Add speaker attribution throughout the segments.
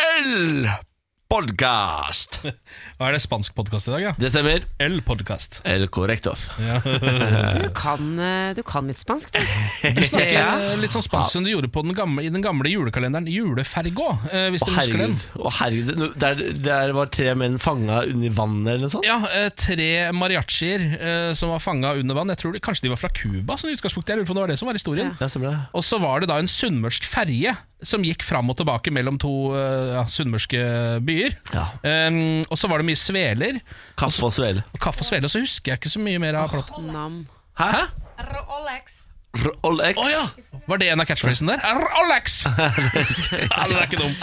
Speaker 1: El Podcast.
Speaker 2: Og er det spansk podkast i dag, ja?
Speaker 1: Det stemmer.
Speaker 2: El podkast.
Speaker 1: El Correctos.
Speaker 3: Du kan, eh, du kan litt spansk, du.
Speaker 2: Du snakker
Speaker 3: Ja.
Speaker 2: eh, litt sånn spansk som du gjorde på den gamle, i den gamle julekalenderen Julefergo, eh, hvis
Speaker 1: Å,
Speaker 2: du husker den.
Speaker 1: herregud. Å, herregud. Nå- Der, der var tre menn fanga under vannet eller noe sånt.
Speaker 2: Ja, eh, tre mariachier eh, som var fanga under vann. Jeg tror de, Kanskje de var fra Cuba? Sånn i utgangspunktet. Jeg lurer på om det var det som var historien.
Speaker 3: Ja.
Speaker 1: Ja, stemmer det.
Speaker 2: Og så var det da en sunnmørsk ferje som gikk fram og tilbake mellom to eh, ja, sunnmørske byer.
Speaker 1: Ja.
Speaker 2: Em, og så var det mye sveler.
Speaker 1: Kaffe og svele.
Speaker 2: Kaffe og sveler, og så husker jeg ikke så mye mer av plotten.
Speaker 3: Nam.
Speaker 1: Hæ?
Speaker 2: Hæ?
Speaker 4: Rolex.
Speaker 1: Rolex.
Speaker 2: Å ja! Var det en av catchphrasene der? Rolex! ja, den er ikke dum.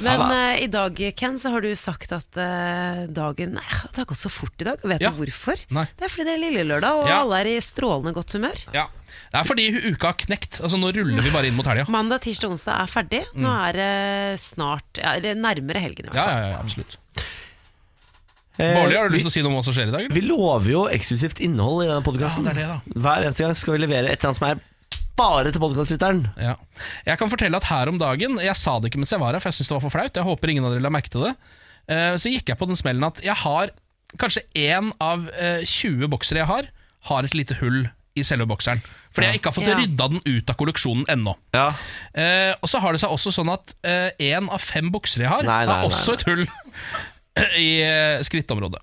Speaker 3: Men eh, i dag, Ken, så har du sagt at eh, dagen Nei, det har gått så fort i dag. Og vet
Speaker 2: Ja.
Speaker 3: du hvorfor?
Speaker 2: Nei.
Speaker 3: Det er fordi det er lille lørdag, og
Speaker 2: Ja.
Speaker 3: alle er i strålende godt humør.
Speaker 2: Ja. Det er fordi uka har knekt. Altså Nå ruller vi bare inn mot helga.
Speaker 3: Mandag, tirsdag, onsdag er ferdig. Nå er det snart ja, eller nærmere helgen, i
Speaker 2: Mm. Ja,
Speaker 3: hvert fall.
Speaker 2: ja, ja, absolutt.
Speaker 1: Eh,
Speaker 2: Bårdli, har du lyst
Speaker 1: vi-
Speaker 2: til å si noe om hva som skjer i dag? eller?
Speaker 1: Vi lover jo eksklusivt innhold i denne podkasten.
Speaker 2: Ja, det er det,
Speaker 1: Hver eneste gang skal vi levere et eller annet som er bare til podkastlytteren.
Speaker 2: Ja. Jeg kan fortelle at her om dagen Jeg sa det ikke mens jeg var her, for jeg syntes det var for flaut. Jeg håper ingen av dere la merke til det. Eh, Så gikk jeg på den smellen at jeg har kanskje én av eh, 20 boksere jeg har, har et lite hull i selve bokseren. Fordi jeg ikke har fått
Speaker 3: Ja.
Speaker 2: rydda den ut av kolleksjonen ennå.
Speaker 1: Ja.
Speaker 2: Eh, og så har det seg også sånn at én av fem buksere jeg har,
Speaker 1: Nei, nei,
Speaker 2: har også et hull i eh, skrittområdet.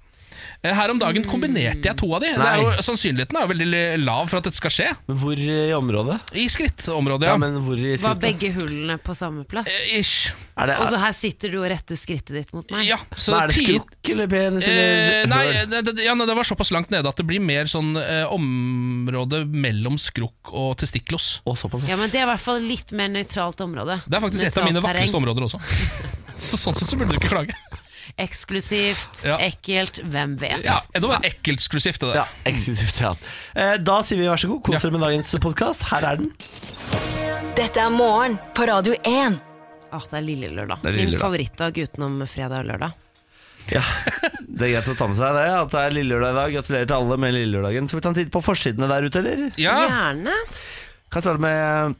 Speaker 2: Eh, Her om dagen kombinerte jeg to av de. Det er jo,
Speaker 1: Nei.
Speaker 2: sannsynligheten er jo veldig lav for at dette skal skje.
Speaker 1: Men hvor i området?
Speaker 2: I skrittområdet,
Speaker 1: Ja,
Speaker 2: ja.
Speaker 1: men hvor i
Speaker 3: Var
Speaker 1: snittet?
Speaker 3: begge altså, hullene på samme plass?
Speaker 2: Eh, Ish.
Speaker 1: Er det,
Speaker 3: Og så her sitter du og retter skrittet ditt mot meg.
Speaker 2: Ja, så
Speaker 1: Men er det
Speaker 2: ti-
Speaker 1: skrukk eller penis eller
Speaker 2: Eh, nei,
Speaker 1: høl?
Speaker 2: det, det- ja, nei, det var såpass langt nede at det blir mer sånn eh, område mellom skrukk og testiklos.
Speaker 1: Å, såpass.
Speaker 3: Ja, men det er i hvert fall litt mer nøytralt område.
Speaker 2: Det er faktisk et av mine
Speaker 3: Nøytralt
Speaker 2: vakreste
Speaker 3: terreng.
Speaker 2: områder også. Så sånn sett så burde du ikke klage.
Speaker 3: Eksklusivt,
Speaker 2: Ja.
Speaker 3: ekkelt, hvem vet?
Speaker 2: Ja, Eh, Det var ekkelt eksklusivt, det der.
Speaker 1: Ja, eksklusivt ja. Eh, Da sier vi vær så god, kos dere med dagens podkast. Her er den.
Speaker 5: Dette er morgen på Radio 1.
Speaker 3: Åh, det er lille lørdag.
Speaker 1: er lille
Speaker 3: Min
Speaker 1: lørdag.
Speaker 3: favorittdag utenom fredag og lørdag.
Speaker 1: Ja, Det er greit å ta med seg det, at det er lillelørdag i dag. Gratulerer til alle med lillelørdagen. Skal vi ta en titt på forsidene der ute, eller?
Speaker 2: Ja,
Speaker 3: Gjerne.
Speaker 1: Kan starte med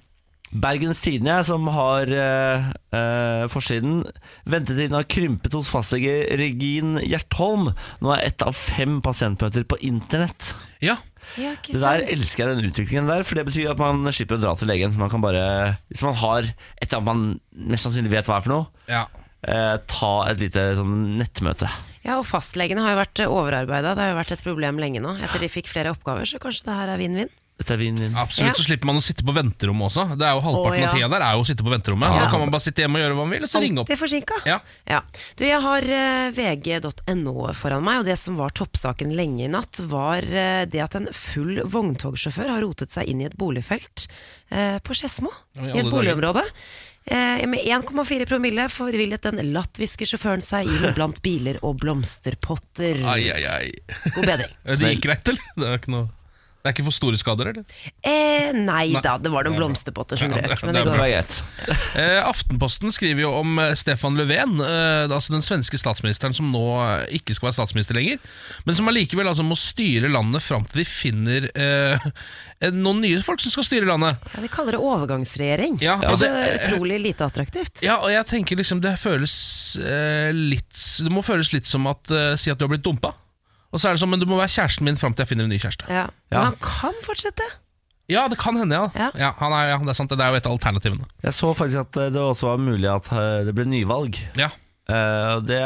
Speaker 1: Bergens Tidende, jeg, som har eh, eh, forsiden. Ventetiden har krympet hos fastlege Regin Hjertholm. Nå er ett av fem pasientmøter på internett.
Speaker 2: ja.
Speaker 3: Ja, ikke
Speaker 1: Det der elsker jeg den utviklingen der, for det betyr at man slipper å dra til legen. Man kan bare, Hvis man har et eller annet man mest sannsynlig vet hva er for noe,
Speaker 2: ja.
Speaker 1: eh, ta et lite sånn nettmøte.
Speaker 3: Ja, og fastlegene har jo vært overarbeida. Det har jo vært et problem lenge nå. Etter de fikk flere oppgaver, så kanskje det her er vinn-vinn.
Speaker 1: Dette er vinn-vinn.
Speaker 2: Absolutt,
Speaker 3: Ja.
Speaker 2: så slipper man å sitte på venterommet også. Det er jo Halvparten
Speaker 3: Å, ja.
Speaker 2: av tida der er jo å sitte på venterommet. Da kan man bare sitte hjemme og gjøre hva man vil, og så ringe opp.
Speaker 3: Alltid forsinka.
Speaker 2: Ja.
Speaker 3: Du, jeg har eh, vg.no foran meg, og det som var toppsaken lenge i natt, var eh, det at en full vogntogsjåfør har rotet seg inn i et boligfelt eh, på Skedsmo.
Speaker 2: Ja, i
Speaker 3: I
Speaker 2: alle
Speaker 3: et boligområde. Eh, med 1,4 promille forvillet den latviske sjåføren seg inn blant biler og blomsterpotter.
Speaker 2: Ai, ai, ai.
Speaker 3: God bedring.
Speaker 2: Det gikk greit, eller? Det er ikke noe det er ikke for store skader, eller?
Speaker 3: Eh, nei,
Speaker 2: Nei.
Speaker 3: da, det var noen blomsterpotter som
Speaker 2: Ja, det-
Speaker 3: røk. Men
Speaker 2: det er
Speaker 3: det går
Speaker 1: Det er greit.
Speaker 2: Eh, Aftenposten skriver jo om eh, Stefan Löfven, eh, altså den svenske statsministeren som nå eh, ikke skal være statsminister lenger, men som allikevel altså, må styre landet fram til de finner eh, eh, noen nye folk som skal styre landet.
Speaker 3: Ja, de kaller det overgangsregjering.
Speaker 2: Ja,
Speaker 3: det er
Speaker 2: altså,
Speaker 3: så utrolig lite attraktivt.
Speaker 2: Ja, og jeg tenker liksom det føles eh, litt Det må føles litt som at eh, Si at du har blitt dumpa. Og så er det sånn, men du må være kjæresten min fram til jeg finner en ny kjæreste.
Speaker 3: Ja. Men han kan fortsette.
Speaker 2: Ja, det kan hende, ja.
Speaker 3: Ja.
Speaker 2: Ja, han er, ja det er sant. Det er jo et av alternativene.
Speaker 1: Jeg så faktisk at eh, det også var mulig at eh, det ble nyvalg.
Speaker 2: Ja.
Speaker 1: Eh, og det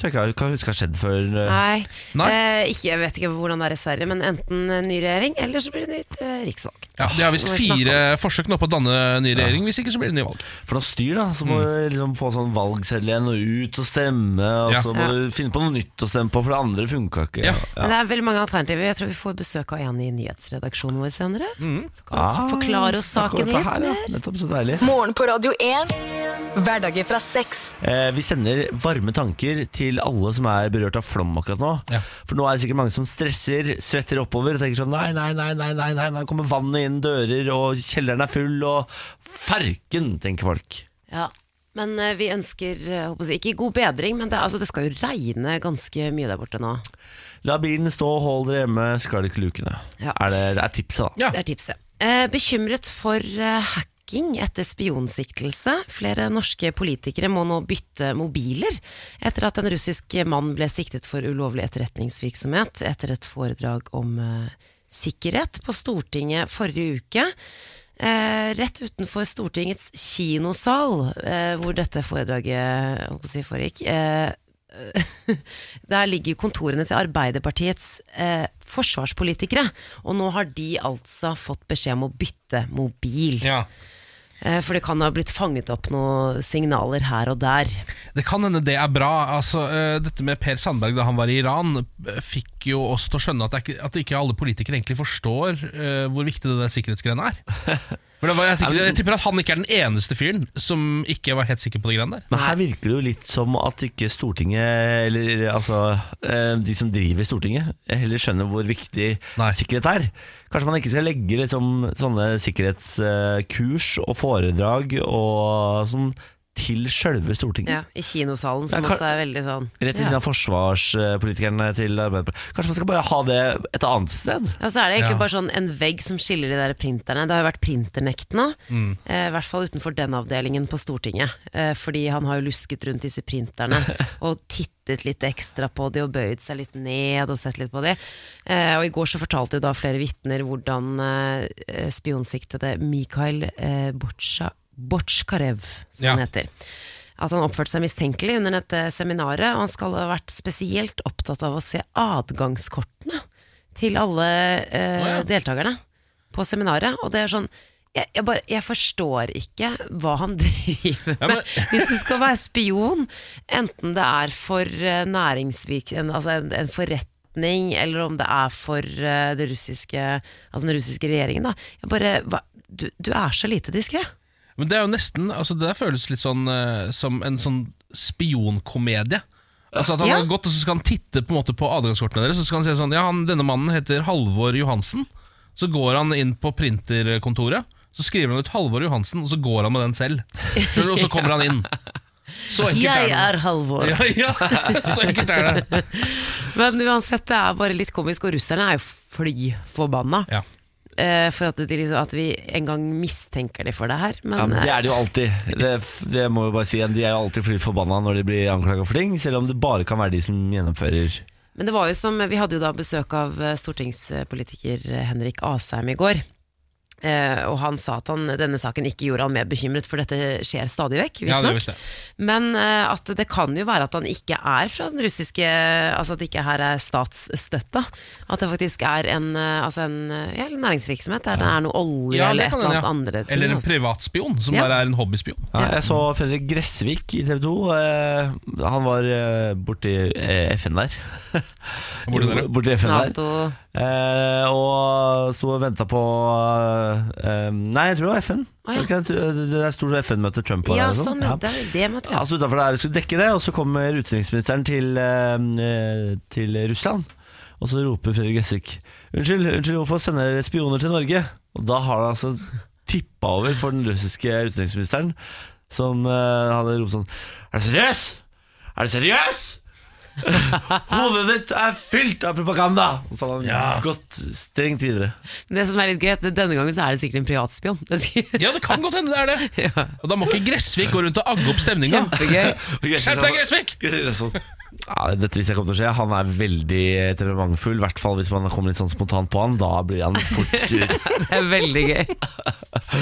Speaker 1: tror jeg ikke jeg kan huske har skjedd før. eh.
Speaker 3: Nei.
Speaker 2: Nei.
Speaker 3: Eh, ikke, jeg vet ikke hvordan det er i Sverige, men enten en ny regjering, eller så blir det nytt eh, riksvalg.
Speaker 2: Ja, de har visst
Speaker 3: Må vi snakke
Speaker 2: fire forsøk nå på å danne ny regjering. Hvis ikke så blir det nyvalg.
Speaker 1: For noe styr, da. Så må
Speaker 2: Mm.
Speaker 1: du liksom få sånn valgseddel igjen og ut og stemme. Og
Speaker 2: Ja.
Speaker 1: så må
Speaker 3: Ja.
Speaker 1: du finne på noe nytt å stemme på, for det andre funka ikke.
Speaker 2: Ja.
Speaker 3: Men det er veldig mange alternativer. Jeg tror vi får besøk av en i nyhetsredaksjonen vår senere.
Speaker 2: Mm.
Speaker 3: Så kan vi forklare oss
Speaker 1: snakke om Ah, dette
Speaker 3: saken litt
Speaker 1: her, ja.
Speaker 3: mer.
Speaker 1: Nettopp, så deilig.
Speaker 5: Morgen på Radio 1. Hverdager fra seks.
Speaker 1: Eh, vi sender varme tanker til alle som er berørt av flom akkurat nå.
Speaker 2: Ja.
Speaker 1: For nå er det sikkert mange som stresser, svetter oppover og tenker sånn nei, nei, nei, nei, nei, nei, nå kommer vannet inn dører, og kjelleren er full, og farken, tenker folk.
Speaker 3: Ja. Men eh, vi ønsker eh, håper jeg, å si, ikke god bedring, men det, altså, det skal jo regne ganske mye der borte nå.
Speaker 1: La bilen stå, hold dere hjemme, skalk lukene.
Speaker 3: Ja.
Speaker 1: Er det, det er tipset, da.
Speaker 2: Ja.
Speaker 3: Det er tipset. Eh, bekymret for eh, hack hacking etter spionsiktelse. Flere norske politikere må nå bytte mobiler etter at en russisk mann ble siktet for ulovlig etterretningsvirksomhet etter et foredrag om eh, sikkerhet på Stortinget forrige uke. Eh, rett utenfor Stortingets kinosal, eh, hvor dette foredraget jeg holdt på å si, foregikk, eh, der ligger kontorene til Arbeiderpartiets eh, forsvarspolitikere. Og nå har de altså fått beskjed om å bytte mobil.
Speaker 2: Ja.
Speaker 3: Eh, for det kan ha blitt fanget opp noen signaler her og der.
Speaker 2: Det kan hende det er bra. Altså, eh, dette med Per Sandberg da han var i Iran, eh, fikk jo oss til å skjønne at, det er ikke, at ikke alle politikere egentlig forstår eh, hvor viktig det der sikkerhetsgreiene er. For det var, jeg, tipper, jeg tipper at han ikke er den eneste fyren som ikke var helt sikker på de greiene der.
Speaker 1: Men her virker det jo litt som at ikke Stortinget, eller altså eh, de som driver Stortinget, heller skjønner hvor viktig
Speaker 2: Nei.
Speaker 1: sikkerhet er. Kanskje man ikke skal legge liksom, sånne sikkerhetskurs og foredrag og sånn til sjølve Stortinget.
Speaker 3: Ja, I kinosalen,
Speaker 1: Ja,
Speaker 3: som
Speaker 1: kan-
Speaker 3: også er veldig sånn
Speaker 1: Rett ved siden av forsvarspolitikerne til Arbeiderpartiet. Kanskje man skal bare ha det et annet sted?
Speaker 3: Ja, og så er det egentlig
Speaker 2: Ja.
Speaker 3: bare sånn en vegg som skiller de der printerne. Det har jo vært printernekt nå. Eh, I hvert fall utenfor den avdelingen på Stortinget. Eh, fordi han har jo lusket rundt disse printerne og tittet litt ekstra på de og bøyd seg litt ned og sett litt på de. Eh, og i går så fortalte jo da flere vitner hvordan eh, spionsiktede Mikhail eh, Bortsja- Bortsjkarev, som
Speaker 2: Ja.
Speaker 3: han heter at han oppførte seg mistenkelig under dette seminaret, og han skal ha vært spesielt opptatt av å se adgangskortene til alle eh,
Speaker 2: Å, ja.
Speaker 3: deltakerne på seminaret. Og det er sånn jeg, jeg, bare, jeg forstår ikke hva han driver med.
Speaker 2: Ja, men-
Speaker 3: Hvis du skal være spion, enten det er for eh, næringsvirk- en, altså en, en forretning, eller om det er for eh, det russiske, altså den russiske regjeringen, da. Jeg bare, hva, du, du er så lite diskré.
Speaker 2: Men det er jo nesten altså, Det der føles litt sånn eh, som en sånn spionkomedie. Altså at Han
Speaker 3: Ja.
Speaker 2: har gått og så skal han titte på, en måte, på adgangskortene deres og så skal han si sånn Ja, han, denne mannen heter Halvor Johansen. Så går han inn på printerkontoret, så skriver han ut Halvor Johansen, og så går han med den selv. Skjønner du? Og så kommer han inn. Så enkelt
Speaker 3: Jeg
Speaker 2: er det.
Speaker 3: er Halvor.
Speaker 2: Ja, ja, så enkelt er det.
Speaker 3: Men uansett, det er bare litt komisk, og russerne er jo fly forbanna.
Speaker 2: Ja.
Speaker 3: eh, For at, de liksom, at vi en gang mistenker de for det her. Men,
Speaker 1: Ja, men det
Speaker 3: eh,
Speaker 1: er det jo alltid. Det, det må jeg bare si igjen. De er jo alltid fly forbanna når de blir anklaga for ting, selv om det bare kan være de som gjennomfører.
Speaker 3: eh, men det var jo som Vi hadde jo da besøk av eh, stortingspolitiker eh, Henrik Asheim i går. Eh, og han sa at han, denne saken ikke gjorde han mer bekymret, for dette skjer stadig vekk.
Speaker 2: Ja, det
Speaker 3: visstnok.
Speaker 2: visste jeg.
Speaker 3: Men eh, at det kan jo være at han ikke er fra den russiske Altså at det ikke her er statsstøtta. At det faktisk er en, eh, altså en eh, ja, eller næringsvirksomhet der det er noe olje
Speaker 2: Ja,
Speaker 3: eller
Speaker 2: det
Speaker 3: et
Speaker 2: kan
Speaker 3: eller
Speaker 2: hende,
Speaker 3: annet
Speaker 2: ja.
Speaker 3: andre ting.
Speaker 2: Eller en
Speaker 3: altså.
Speaker 2: privatspion, som
Speaker 3: Ja.
Speaker 2: bare er en hobbyspion.
Speaker 1: Ja, jeg så Fredrik Gressvik i TV 2. Eh, han var eh, borti eh, FN der.
Speaker 2: Hvor det der er.
Speaker 1: borti FN der.
Speaker 3: Nato
Speaker 1: Eh, og sto og venta på eh, Nei, jeg tror det var FN.
Speaker 3: Å,
Speaker 1: Det er
Speaker 3: ja.
Speaker 1: ikke- Det er stort FN-møte Trump var
Speaker 3: Ja,
Speaker 1: der liksom. og
Speaker 3: sånn, ja. Det, er- det måtte jeg
Speaker 1: Altså utenfor der skulle dekke det, og så kommer utenriksministeren til, eh, til Russland. Og så roper Fredrik Gressvik Unnskyld, unnskyld, hvorfor sender dere spioner til Norge? Og da har det altså tippa over for den russiske utenriksministeren, som eh, hadde ropt sånn Er du seriøs? Er du seriøs? Hodet ditt er fylt av propaganda! Og så hadde han gått strengt videre.
Speaker 3: Det som er litt gøy, er at denne gangen så er det sikkert en privatspion. Det er sikkert-
Speaker 2: Ja, det kan godt hende det er det.
Speaker 3: Ja.
Speaker 2: Og da må ikke Gressvik gå rundt og agge opp stemninga.
Speaker 3: Kjempegøy.
Speaker 1: Og Gressvik sa
Speaker 2: Skjerp deg,
Speaker 1: sånn-
Speaker 2: Gressvik!
Speaker 1: Sånn. Ja, dette visste jeg kom til å skje. Han er veldig temperamentfull. I hvert fall hvis man kommer litt sånn spontant på han. Da blir han fort sur.
Speaker 3: Det er veldig gøy.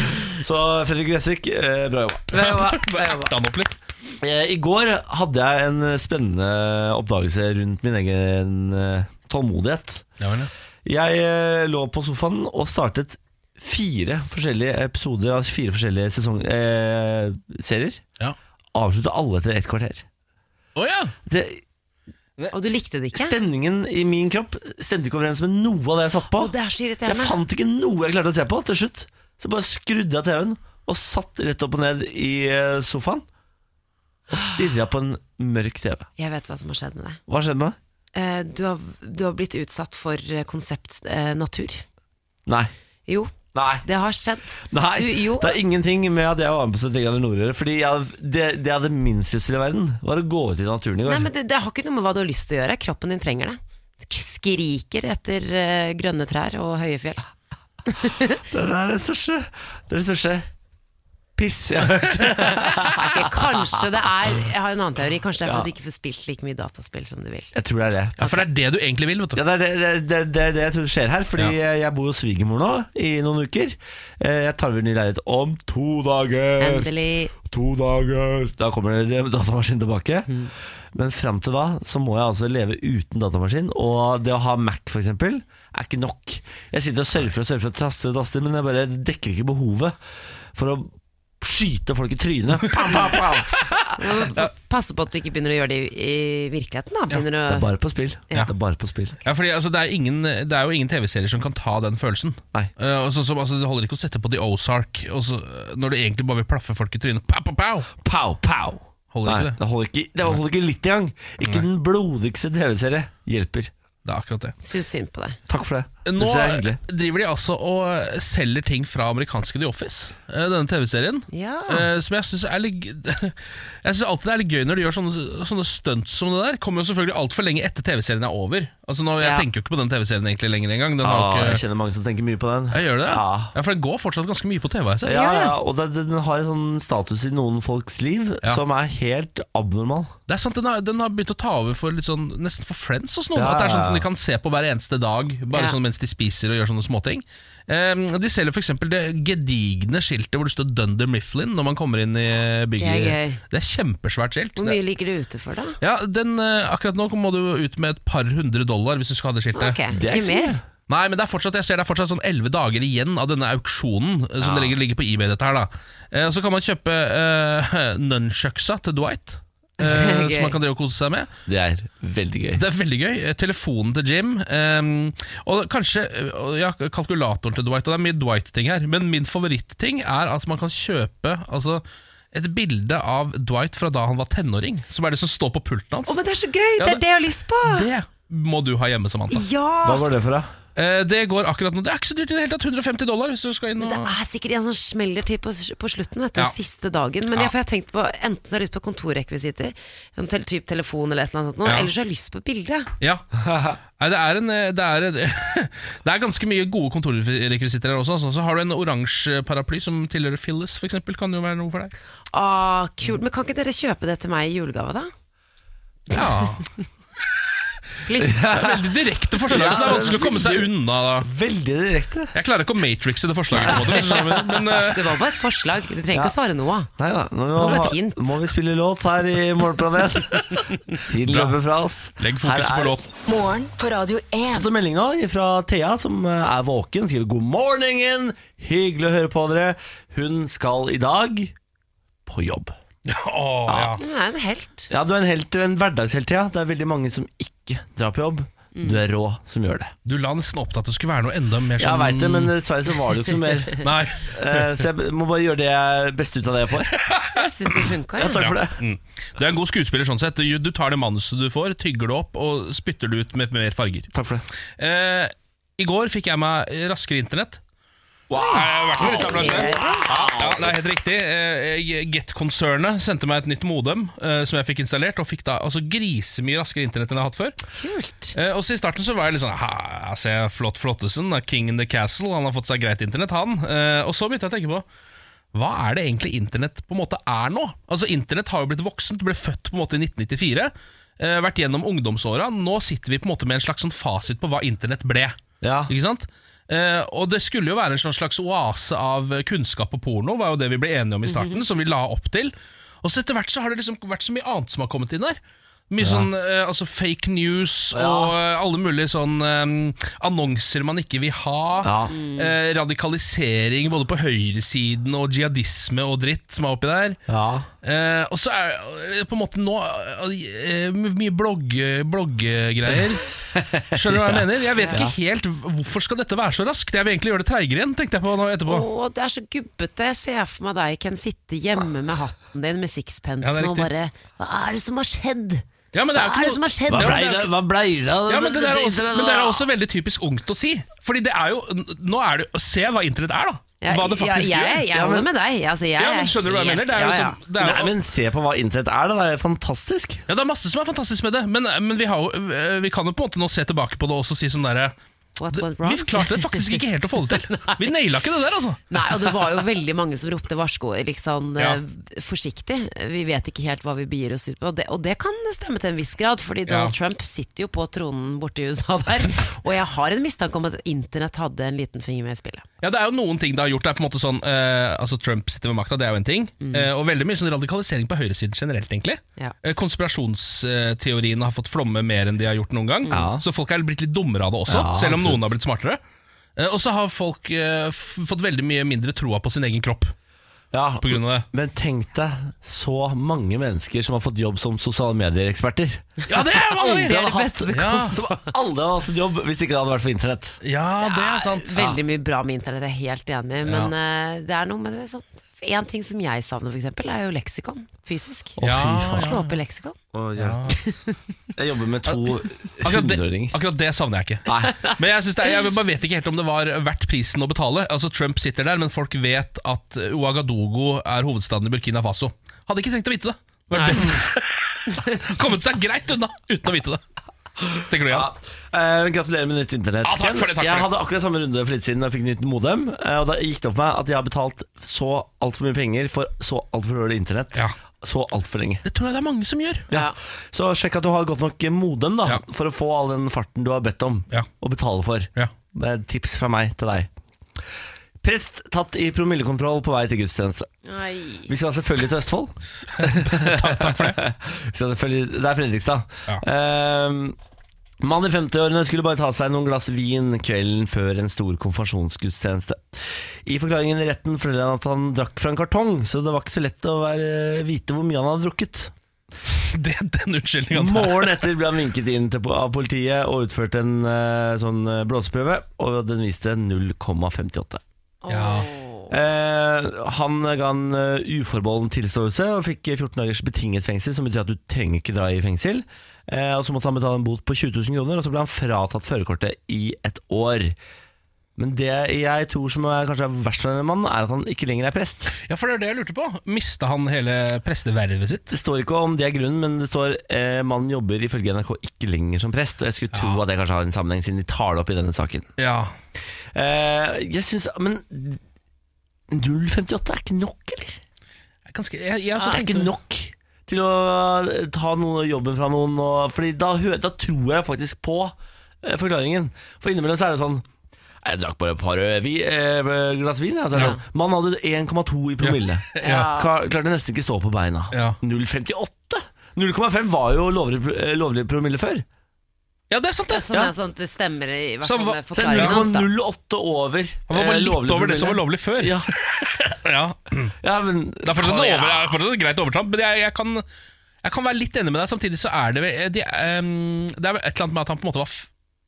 Speaker 1: Så Fredrik Gressvik, eh, bra jobba.
Speaker 3: Bra jobba. Bra
Speaker 2: Bare
Speaker 3: jobba.
Speaker 2: erte han opp litt.
Speaker 1: Eh, I går hadde jeg en spennende oppdagelse rundt min egen eh, tålmodighet. Jeg eh, lå på sofaen og startet fire forskjellige episoder av fire forskjellige sesong, eh, serier.
Speaker 2: Ja.
Speaker 1: Avsluttet alle etter ett kvarter.
Speaker 2: Å ja.
Speaker 1: Det,
Speaker 3: Og du likte det ikke?
Speaker 1: stemningen i min kropp stemte ikke overens med noe av det jeg satt på.
Speaker 3: Å, det er så
Speaker 1: Jeg
Speaker 3: irriterende.
Speaker 1: fant ikke noe jeg klarte å se på til slutt. Så bare skrudde jeg TV-en og satt rett opp og ned i eh, sofaen og stirra på en mørk TV.
Speaker 3: Jeg vet hva som har skjedd med deg.
Speaker 1: Hva skjedde med meg?
Speaker 3: Eh, Du har, du har blitt utsatt for eh, konsept eh, natur.
Speaker 1: Nei.
Speaker 3: Jo,
Speaker 1: Nei.
Speaker 3: det har skjedd.
Speaker 1: Nei.
Speaker 3: Du, jo.
Speaker 1: Det er ingenting med at jeg var med på 70 grader nord å gjøre. Fordi jeg, hadde- det, det jeg hadde minst lyst til i verden, var å gå ut i naturen i går.
Speaker 3: Nei, men det, det har ikke noe med hva du har lyst til å gjøre. Kroppen din trenger det. Skriker etter eh, grønne trær og høye fjell.
Speaker 1: Det er det største, det er det største Piss, jeg har hørt.
Speaker 3: Ok, kanskje det er Jeg har en annen teori. Kanskje det er for at du ikke får spilt like mye dataspill som du vil.
Speaker 1: Jeg tror det er det.
Speaker 2: Ja, For det er det du egentlig vil. vet du
Speaker 1: Ja, det er det, det, er- det, er- det, er det jeg tror skjer her, fordi eh, jeg bor hos svigermor nå i noen uker. Eh, Jeg tar over ny leilighet om to dager.
Speaker 3: Endelig.
Speaker 1: To dager Da kommer datamaskinen tilbake.
Speaker 2: Mm.
Speaker 1: Men fram til da så må jeg altså leve uten datamaskin. Og det å ha Mac f.eks. er ikke nok. Jeg sitter og surfer og surfer og taster og taster, men jeg bare dekker ikke behovet for å skyte folk i trynet. Pam, pam, pam.
Speaker 3: Passe på at du ikke begynner å gjøre det i, i virkeligheten. Da. Begynner
Speaker 1: Det er
Speaker 3: å,
Speaker 1: bare på spill.
Speaker 3: Ja.
Speaker 1: Det er bare på spill.
Speaker 2: Ja, fordi altså, det, er ingen, det er jo ingen TV-serier som kan ta den følelsen.
Speaker 1: Nei.
Speaker 2: Eh, og sånn som, altså, det holder ikke å sette på The Ozark og så, når du egentlig bare vil plaffe folk i trynet. Pow, pow, pow.
Speaker 1: Pow, pow.
Speaker 2: Holder
Speaker 1: Nei,
Speaker 2: ikke det?
Speaker 1: det holder ikke, det holder ikke litt engang. Ikke den blodigste TV-serie hjelper.
Speaker 2: Det er akkurat det.
Speaker 3: synes synd på deg.
Speaker 1: Takk for det.
Speaker 2: Nå
Speaker 1: det er hyggelig.
Speaker 2: driver de altså og selger ting fra amerikanske The Office, eh, denne TV-serien.
Speaker 3: Ja.
Speaker 2: Eh, som jeg syns er litt Jeg synes alltid det er litt gøy når de gjør sånne, sånne stunts som det der. Kommer jo selvfølgelig altfor lenge etter TV-serien er over. Altså nå, Jeg
Speaker 3: Ja.
Speaker 2: tenker jo ikke på den TV-serien egentlig lenger engang. Den har
Speaker 1: Ah,
Speaker 2: jo
Speaker 1: jeg
Speaker 2: ikke,
Speaker 1: kjenner mange som tenker mye på den.
Speaker 2: jeg gjør det? Ja.
Speaker 1: Ja.
Speaker 2: For den går fortsatt ganske mye på TV. har Jeg sett.
Speaker 1: Ja, ja, og det, den har en sånn status i noen folks liv
Speaker 2: Ja.
Speaker 1: som er helt abnormal.
Speaker 2: Det er sant, den har, den har begynt å ta over for litt sånn, nesten for friends hos noen.
Speaker 1: Ja,
Speaker 2: At det er sånn
Speaker 1: ja, ja.
Speaker 2: som de kan se på hver eneste dag, bare
Speaker 3: Ja.
Speaker 2: sånn mens de spiser og gjør sånne småting. Um, de selger f.eks. det gedigne skiltet hvor det står Dunder Mifflin når man kommer inn i eh, bygget.
Speaker 3: Det er gøy.
Speaker 2: Det er kjempesvært skilt.
Speaker 3: Hvor
Speaker 2: Det-
Speaker 3: mye ligger du ute for, da?
Speaker 2: Ja, den, eh, Akkurat nå må du jo ut med et par hundre dollar hvis du skal ha det skiltet.
Speaker 3: Ok,
Speaker 1: Det er
Speaker 3: ikke
Speaker 1: ikke så
Speaker 3: mer?
Speaker 1: mye.
Speaker 2: Nei, men det er fortsatt, jeg ser det er fortsatt sånn 11 dager igjen av denne auksjonen eh, som det ligger, ligger på eBay. dette her da eh, og Så kan man kjøpe eh, nunchucksa til Dwight, eh,
Speaker 3: Det er gøy.
Speaker 2: som man kan drive og kose seg med.
Speaker 1: Det er veldig gøy.
Speaker 2: Det er veldig gøy. Eh, Telefonen til Jim, ehm, og kanskje eh, ja, kalkulatoren til Dwight. Og det er mye Dwight-ting her, men min favoritting er at man kan kjøpe altså, et bilde av Dwight fra da han var tenåring, som er det som står på pulten hans.
Speaker 3: Å, men det er så gøy!
Speaker 2: Ja,
Speaker 3: Det
Speaker 2: men-
Speaker 3: er det jeg har lyst på!
Speaker 2: Det må du ha hjemme, Samantha.
Speaker 1: Hva
Speaker 3: Ja!
Speaker 1: går det for, da?
Speaker 2: Eh, Det går akkurat nå. Det er ikke så dyrt i det hele tatt. 150 dollar hvis du skal inn og
Speaker 3: Det er sikkert en som smeller til på, på slutten, vet du,
Speaker 2: Mm. Ja.
Speaker 3: siste dagen. Men
Speaker 2: Ja.
Speaker 3: jeg, for jeg har tenkt på enten så har jeg lyst på kontorrekvisitter, en tel- typ telefon eller et eller annet sånt, noe,
Speaker 2: Ja.
Speaker 3: eller så har jeg lyst på bilde.
Speaker 2: Ja. Nei, det er en eh, Det er, det er ganske mye gode kontorrekvisitter her også. altså. Så har du en oransje paraply som tilhører Phyllis, f.eks. Kan jo være noe for deg.
Speaker 3: Ah, kult. Men kan ikke dere kjøpe det til meg i julegave, da?
Speaker 2: Ja.
Speaker 3: Please.
Speaker 2: Det er veldig direkte forslag, så det er vanskelig å komme seg unna. da
Speaker 1: Veldig direkte.
Speaker 2: Jeg klarer ikke å matrixe det forslaget, på en måte. hvis du skjønner hva jeg mener. Men eh,
Speaker 3: Det var bare et forslag. Du trenger ikke å svare noe.
Speaker 1: Nei da, nå
Speaker 3: var
Speaker 1: må,
Speaker 3: et hint.
Speaker 1: må vi spille låt her i Morgenplanet. Tiden
Speaker 2: Bra.
Speaker 1: løper fra oss.
Speaker 2: legg fokus
Speaker 1: Her
Speaker 2: på
Speaker 1: er-
Speaker 2: låt.
Speaker 5: Morgen på Radio 1.
Speaker 1: fått en melding nå fra Thea, som eh, er våken. Skriver 'God morgenen', hyggelig å høre på dere. Hun skal i dag på jobb.
Speaker 2: Åh, ja.
Speaker 3: Du er en helt.
Speaker 1: Ja, du er en, helt, en hverdagshelt, Thea. Det er veldig mange som ikke drar på jobb. Du er rå som gjør det.
Speaker 2: Du la nesten opp til at det skulle være noe enda mer
Speaker 1: Jeg
Speaker 2: sånn
Speaker 1: veit det, men eh, dessverre så var det jo ikke noe mer.
Speaker 2: Nei.
Speaker 1: Eh, Så jeg må bare gjøre det jeg- beste ut av det jeg får.
Speaker 3: Jeg syns det funka.
Speaker 1: Ja,
Speaker 3: Ja.
Speaker 1: takk for det.
Speaker 2: Mm. Du er en god skuespiller sånn sett. Du, du tar det manuset du får, tygger det opp og spytter det ut med mer farger.
Speaker 1: Takk for det.
Speaker 2: Eh, I går fikk jeg meg raskere internett. Wow. Ja, ja, det er helt riktig. Eh, Get-konsernet sendte meg et nytt modem eh, som jeg fikk installert, og fikk da altså, grisemye raskere internett enn jeg har hatt før.
Speaker 3: Kult.
Speaker 2: Eh, og så I starten så var jeg litt sånn Hæ, se Flott Flottesen, King in the Castle, han har fått seg greit internett, han. Eh, og så begynte jeg å tenke på hva er det egentlig internett på en måte er nå? Altså Internett har jo blitt voksent, ble født på en måte i 1994. eh, vært gjennom ungdomsåra. Nå sitter vi på en måte med en slags sånn fasit på hva internett ble.
Speaker 1: Ja.
Speaker 2: Ah. Ikke sant? Eh, og det skulle jo være en sånn slags oase av kunnskap og porno, var jo det vi ble enige om i starten,
Speaker 1: Mhm.
Speaker 2: som vi la opp til. Og så etter hvert så har det liksom vært så mye annet som har kommet inn der. Mye sånn eh, altså fake news og eh, alle mulige sånn eh, annonser man ikke vil ha.
Speaker 1: Ja.
Speaker 2: Eh, radikalisering både på høyresiden og jihadisme og dritt som er oppi der.
Speaker 1: Ja.
Speaker 2: Eh, og så er det på en måte nå eh, mye blogg, blogggreier. Skjønner du hva jeg mener? Jeg vet ikke helt Hvorfor skal dette være så raskt? Jeg vil egentlig gjøre det treigere igjen, tenkte jeg på nå etterpå.
Speaker 3: Å, det er så gubbete. Jeg ser for meg deg kan sitte hjemme med hatten din med sixpensen
Speaker 2: Ja, det er
Speaker 3: og bare Hva er det som har skjedd?
Speaker 2: Ja, men det er jo
Speaker 3: Hva er det
Speaker 2: ikke
Speaker 3: som har
Speaker 2: noe
Speaker 3: skjedd?
Speaker 1: Hva
Speaker 2: Ja, men
Speaker 1: blei
Speaker 2: det
Speaker 1: det, Hva blei det?
Speaker 2: er-
Speaker 1: av
Speaker 2: ja, men det, er også,
Speaker 1: internett,
Speaker 2: men det er
Speaker 1: da?
Speaker 2: også veldig typisk ungt å si. Fordi det er jo Nå er det Se hva internett er, da.
Speaker 3: Ja,
Speaker 2: Hva det faktisk
Speaker 3: ja, jeg,
Speaker 2: gjør.
Speaker 3: jeg
Speaker 1: Ja,
Speaker 3: holder
Speaker 1: men-
Speaker 3: med deg. Altså, jeg
Speaker 2: Ja, men
Speaker 3: er
Speaker 2: Skjønner du hva jeg
Speaker 3: helt-
Speaker 2: mener? Det er jo
Speaker 3: ja, ja.
Speaker 2: liksom det er jo,
Speaker 1: Nei, men se på hva internett er, da. Det er fantastisk.
Speaker 2: eh, Ja, det er masse som er fantastisk med det, men, men vi, har, jo- øh, vi kan jo på en måte nå se tilbake på det og også si sånn derre
Speaker 3: på at went wrong.
Speaker 2: Vi klarte det faktisk ikke helt å få det til. Vi naila ikke det der, altså.
Speaker 3: Nei, og det var jo veldig mange som ropte varsko litt sånn
Speaker 2: Ja.
Speaker 3: eh, forsiktig. Vi vet ikke helt hva vi begir oss ut på, og det, og det kan stemme til en viss grad. Fordi Donald
Speaker 2: Ja.
Speaker 3: Trump sitter jo på tronen borte i USA der, og jeg har en mistanke om at internett hadde en liten finger med i spillet.
Speaker 2: Ja, Det er jo noen ting det har gjort. Det er på en måte sånn, eh, altså Trump sitter med makta, det er jo en ting. Eh, og veldig mye sånn radikalisering på høyresiden generelt, egentlig.
Speaker 3: Ja.
Speaker 2: Eh, konspirasjonsteoriene har fått flomme mer enn de har gjort noen gang.
Speaker 1: Ja.
Speaker 2: Så folk er blitt litt dummere av det også,
Speaker 1: Ja,
Speaker 2: selv om
Speaker 1: absolutt.
Speaker 2: noen har blitt smartere. Eh, og så har folk eh, f fått veldig mye mindre troa på sin egen kropp
Speaker 1: Ja,
Speaker 2: på grunn av det.
Speaker 1: men tenk deg så mange mennesker som har fått jobb som sosiale medier-eksperter.
Speaker 2: Ja, det er
Speaker 1: Aldri
Speaker 2: det
Speaker 1: hadde hatt,
Speaker 2: beste. Ja.
Speaker 1: Som aldri hadde hatt en jobb hvis ikke det hadde vært for internett.
Speaker 2: ja, det er sant.
Speaker 3: Veldig mye bra med internett, jeg er helt enig, men eh, det er noe med det. sånn En ting som jeg savner, for eksempel, er jo leksikon. Fysisk.
Speaker 1: Å, fy faen.
Speaker 3: Slå opp i leksikon.
Speaker 1: Å, hjelp. Jeg jobber med to
Speaker 2: Akkurat det,
Speaker 1: hundreåringer.
Speaker 2: akkurat det savner jeg ikke.
Speaker 1: Nei.
Speaker 2: Men jeg, synes det, er- jeg bare vet ikke helt om det var verdt prisen å betale. Altså Trump sitter der, men folk vet at Ouagadougou er hovedstaden i Burkina Faso. Hadde ikke tenkt å vite det. Vært bedre. Kommet seg greit unna uten å vite det. Tenker du, Jan?
Speaker 1: Eh, gratulerer med nytt internett.
Speaker 2: Ja, takk for det, takk for
Speaker 1: jeg
Speaker 2: det.
Speaker 1: hadde akkurat samme runde for litt siden da jeg fikk nytt modem. eh, Og da gikk det opp for meg at jeg har betalt så altfor mye penger for så altfor dårlig internett.
Speaker 2: Ja.
Speaker 1: Så altfor lenge.
Speaker 2: Det tror jeg det er mange som gjør.
Speaker 1: Ja. Så sjekk at du har godt nok modem da
Speaker 2: Ja.
Speaker 1: for å få all den farten du har bedt om
Speaker 2: Ja.
Speaker 1: å betale for.
Speaker 2: Ja.
Speaker 1: Det er et tips fra meg til deg. Prest tatt i promillekontroll på vei til gudstjeneste. Vi skal selvfølgelig til Østfold. takk, for det. det er Fredrikstad.
Speaker 2: Ja.
Speaker 1: Ehm, Mann i 50-årene skulle bare ta seg noen glass vin kvelden før en stor konfirmasjonsgudstjeneste. I forklaringen i retten forteller han at han drakk fra en kartong, så det var ikke så lett å være, vite hvor mye han hadde drukket.
Speaker 2: Det, den unnskyldningen der.
Speaker 1: Morgen etter ble han vinket inn til, av politiet og utført en eh, sånn eh, blåseprøve, og den viste 0,58.
Speaker 2: Ja.
Speaker 3: Åh.
Speaker 1: Eh, han ga en eh, uforbeholden tilståelse og fikk eh, 14 dagers betinget fengsel, som betyr at du trenger ikke dra i fengsel. Eh, og Så måtte han betale en bot på 20 000 kroner, og så ble han fratatt førerkortet i et år. Men det jeg tror som er kanskje er verst for denne mannen, er at han ikke lenger er prest.
Speaker 2: ja, for det er det jeg lurte på. Mista han hele prestevervet sitt?
Speaker 1: Det står ikke om det er grunnen, men det står eh, mannen jobber ifølge NRK ikke lenger som prest. Og jeg skulle tro at det kanskje har en sammenheng, siden de tar det opp i denne saken.
Speaker 2: Ja.
Speaker 1: Eh, jeg synes, Men 0,58 er ikke nok, eller?
Speaker 2: Ganske, jeg, jeg også
Speaker 1: Så Ah, det er
Speaker 2: tenkte-
Speaker 1: ikke nok til å ta noe, jobben fra noen. Og, fordi da, hø- da tror jeg faktisk på eh, forklaringen. For innimellom så er det sånn «Nei, Jeg drakk bare et par eh, vi, eh, glass vin. jeg», så er det
Speaker 2: Ja.
Speaker 1: sånn. Man hadde 1,2 i promille.
Speaker 3: Ja.
Speaker 1: Klar, klarte nesten ikke stå på beina.
Speaker 2: Ja.
Speaker 1: 0,58! 0,5 var jo lovlig, pr- eh, lovlig promille før.
Speaker 2: Ja, det er
Speaker 1: Eh,
Speaker 2: sant, det.
Speaker 3: Sånn er sånn at det stemmer i hvert
Speaker 2: Så
Speaker 3: fall
Speaker 2: hva-
Speaker 3: med
Speaker 1: Så det
Speaker 3: forklaringen
Speaker 1: er
Speaker 3: hans. da.
Speaker 1: 0,08 over
Speaker 2: Han var bare
Speaker 1: eh,
Speaker 2: litt over det som var
Speaker 1: promille.
Speaker 2: lovlig før.
Speaker 1: Ja,
Speaker 2: Ja.
Speaker 1: ja, men
Speaker 2: Det er fortsatt,
Speaker 1: Ja,
Speaker 2: et
Speaker 1: ja.
Speaker 2: over, det er fortsatt et greit overtramp, men jeg, jeg, kan, jeg kan være litt enig med deg. Samtidig så er det vel- de, ehm, Det er vel et eller annet med at han på en måte var